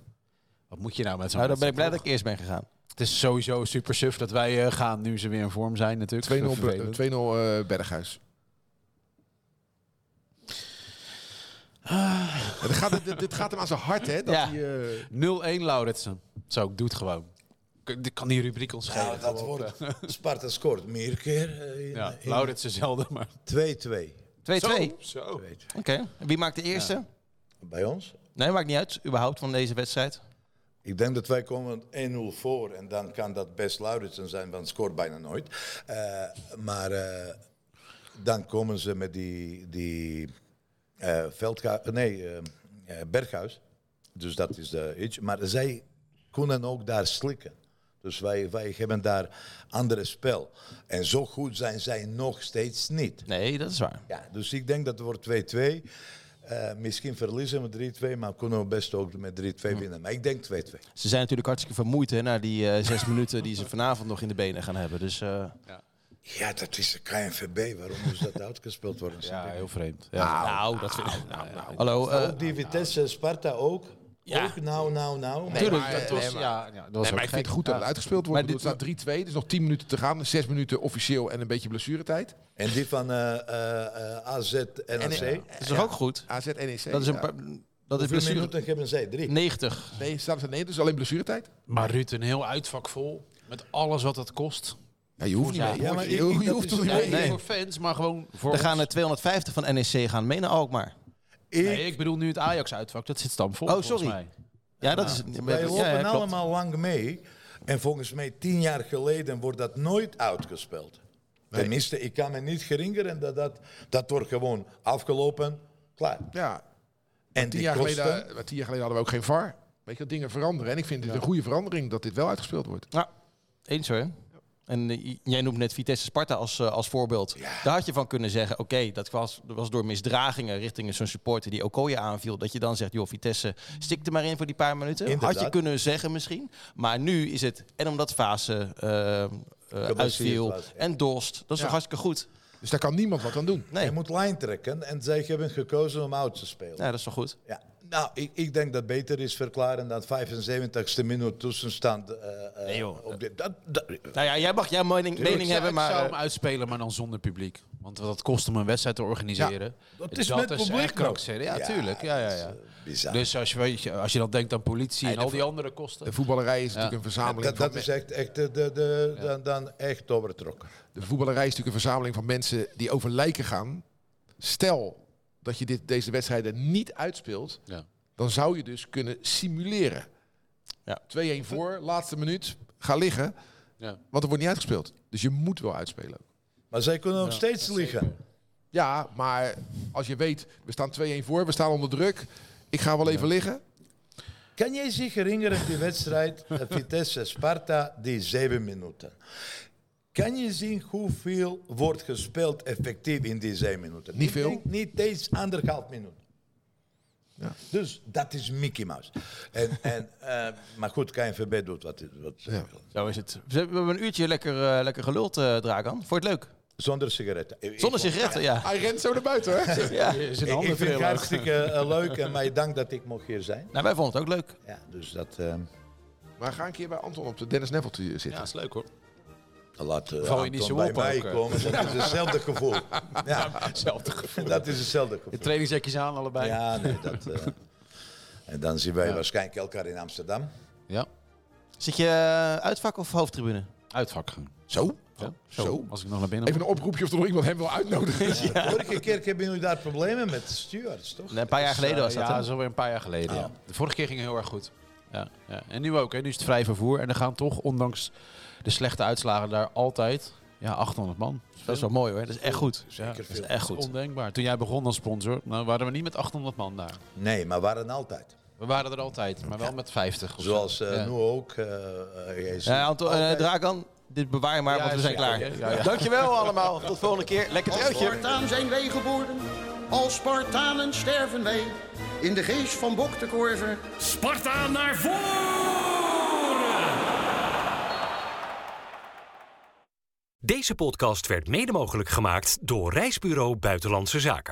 Wat moet je nou met zo'n
Nou, dan ben ik blij
wedstrijd,
dat ik eerst ben gegaan.
toch? Het is sowieso super suf dat wij eh, gaan nu ze weer in vorm zijn natuurlijk.
2-0 Bre-
Vervelend.
2-0 eh, Berghuis. Ja, Dit, gaat, dit, dit gaat hem aan zijn hart, hè? Dat
Ah. Ja.
hij, eh,
0-1 Lauritsen. Zo, ik doe het gewoon. K- dit kan die rubriek ons schelen.
Nou, dat
Gewoon,
wordt,
eh,
Sparta scoort meer keer. eh, in-
Ja,
in
Lauritsen zelden, maar...
2-2.
2-2. Oké.
Zo.
Wie maakt de eerste?
Bij ons?
Nee, maakt niet uit. Überhaupt van deze wedstrijd.
Ik denk dat wij komen 1-0 voor en dan kan dat best Lauritsen zijn, want scoort bijna nooit. Eh, maar eh, dan komen ze met die, die eh Veldga- nee, eh, eh, Berghuis. Dus dat is de iets. Maar zij kunnen ook daar slikken. Dus wij, wij hebben daar andere spel. En zo goed zijn zij nog steeds niet.
Nee, dat is waar.
Ja, dus ik denk dat het wordt 2-2. Eh, misschien verliezen we 3-2, maar kunnen we best ook met 3-2 winnen. Maar ik denk 2-2.
Ze zijn natuurlijk hartstikke vermoeid hè, na die eh, zes minuten die ze vanavond nog in de benen gaan hebben. Dus eh,
Ja, dat is de KNVB. Waarom moest dat uitgespeeld worden?
Ja, heel vreemd. Ja.
nou, dat vind ik. nou, nou. Hallo, eh,
ook die Vitesse, Sparta ook.
Ja.
Ook nou, nou, nou.
tuurlijk.
maar-
dat was,
nee, maar-
ja, eh, ja, dat was
Nee, maar ik vind het goed dat het uitgespeeld wordt.
Maar
Maar staat 3-2, dus nog 10 minuten te gaan. 6 minuten officieel en een beetje blessuretijd.
En die van eh, eh, eh, AZ, NAC.
Dat is toch ook goed?
AZ, NEC.
Dat is een
E ja.
paar. Dat is
Hoeveel
blessure.
minuten hebben zij? Drie.
90.
Nee, staat er nee, dus alleen blessuretijd.
Maar Ruud, een heel uitvak vol. Met alles wat dat kost.
Ja, je hoeft niet mee.
Ja, maar
je,
ik-
je
ik- dat
hoeft
is-
toch niet
Nee,
mee.
nee.
voor fans, maar gewoon voor
Er
ons.
gaan er 250 van NEC gaan mee naar Alkmaar.
Ik,
Nee, ik bedoel nu het Ajax-uitvak. Dat zit stampvol,
Oh,
volgens
sorry.
mij.
Ja, dat is.
wij
ja,
lopen
ja, klopt.
allemaal lang mee. En volgens mij tien jaar geleden wordt dat nooit uitgespeeld. Tenminste, ik kan me niet herinneren dat dat... Dat wordt gewoon afgelopen, klaar.
Ja,
En
tien
die
jaar,
kosten...
geleden, maar tien jaar geleden hadden we ook geen VAR. Weet je, dat dingen veranderen. En ik vind het een goede verandering dat dit wel uitgespeeld wordt.
Ja, eens hoor. En eh, j- jij noemt net Vitesse Sparta als, eh, als voorbeeld. Daar had je van kunnen zeggen, oké, dat was, dat was door misdragingen richting zo'n supporter die Okoye aanviel. Dat je dan zegt, joh, Vitesse, stik er maar in voor die paar minuten. Had je
Inderdaad.
kunnen zeggen misschien. Maar nu is het, en omdat Fase eh, eh, uitviel
was, ja.
en Dorst, dat is toch hartstikke goed?
Dus daar kan niemand wat aan doen.
Nee,
Je moet lijn trekken en zij hebben gekozen om uit te spelen.
ja, dat is toch goed?
Ja, nou, ik, ik denk dat beter is verklaren dan 75ste minuut tussenstand. eh, eh,
Nee, joh.
op dit- dat, dat,
Nou ja, jij mag jouw mening, mening
Ik zou-
hebben,
ik zou
maar... eh,
hem uitspelen, maar dan zonder publiek. Want dat kost om een wedstrijd te organiseren.
dat is met publiek
echt
nog.
krankzinnig. Ja, tuurlijk. Ja, ja, ja.
eh, bizar.
Dus als je, weet je, als je dan denkt aan politie en al die andere
De
kosten.
voetballerij is natuurlijk een verzameling
dat,
van
dat
me-
is echt, echt eh, de, de, dan, dan echt overtrokken.
De voetballerij is natuurlijk een verzameling van mensen die over lijken gaan. Stel dat je dit, deze wedstrijden niet uitspeelt,
Ja.
dan zou je dus kunnen simuleren.
Ja.
2-1 voor, laatste minuut, ga liggen,
Ja.
want er wordt niet uitgespeeld. Dus je moet wel uitspelen.
Maar zij kunnen nog steeds liggen.
Ja, maar als je weet, we staan 2-1 voor, we staan onder druk, ik ga wel even liggen.
Kan jij zich herinneren die wedstrijd eh, Vitesse-Sparta, die zeven minuten? Kan je zien hoeveel wordt gespeeld effectief in die zeven minuten?
Niet
Ik
veel.
denk niet eens anderhalf minuut.
Ja.
Dus dat is Mickey Mouse. En, en, eh, maar goed, KNVB doet wat hij wat ze wil.
Zo is het. We hebben een uurtje lekker, eh, lekker geluld, eh Dragan. Vond je het leuk?
Zonder sigaretten. Ik-
Zonder
ik-
sigaretten, ja.
Hij rent zo naar buiten, hè?
Is een
Ik, ik
handen
vind het
trillen.
hartstikke eh, leuk en mij dank dat ik mocht hier zijn.
Nou, wij vonden het ook leuk.
Ja, dus dat eh,
Maar ga een keer bij Anton op de Dennis Neville zitten.
Ja, is leuk hoor.
laat eh,
Val je niet
Anton
zo
bij
op
mij
ook, eh.
komen. Dat is hetzelfde gevoel. Ja,
Hetzelfde gevoel.
dat is hetzelfde
De
gevoel.
trainingsjakjes aan allebei. Ja.
Ja, nee, dat... eh, en dan zien wij waarschijnlijk elkaar in Amsterdam.
Zit je eh, uitvak of hoofdtribune?
Uitvak.
Zo?
Ja.
Zo.
Als ik nog naar binnen
Even een oproepje of er nog iemand hem wil uitnodigen.
Vorige keer hebben jullie daar problemen met stewards, toch?
Nee, een paar jaar geleden was
Dus, eh, ja,
dat.
dat
hè? Oh.
is alweer een paar jaar geleden. Ja. De vorige keer ging het heel erg goed. Ja, ja. En nu ook. Hè. Nu is het vrij vervoer. En er gaan toch, ondanks de slechte uitslagen, daar altijd ja, 800 man.
Dat is wel mooi hoor. Dat is echt goed.
Ja, dat is
veel.
echt goed. ondenkbaar. Toen jij begon als sponsor, nou, waren we niet met 800 man daar.
Nee, maar waren altijd.
We waren er altijd, maar wel met 50. of zo.
Zoals eh,
Ja.
nu ook. eh, eh, jij ziet-
Ja, Anton, eh, Dragan, dit bewaar je maar,
Ja,
want we
is
zijn
goed,
klaar.
hè? Ja, ja.
Dankjewel allemaal. Tot volgende keer. Lekker truitje.
Spartaan zijn wij geboren, als Spartanen sterven wij. In de geest van Bok de Korver
Sparta naar voren!
Deze podcast werd mede mogelijk gemaakt door Reisbureau Buitenlandse Zaken.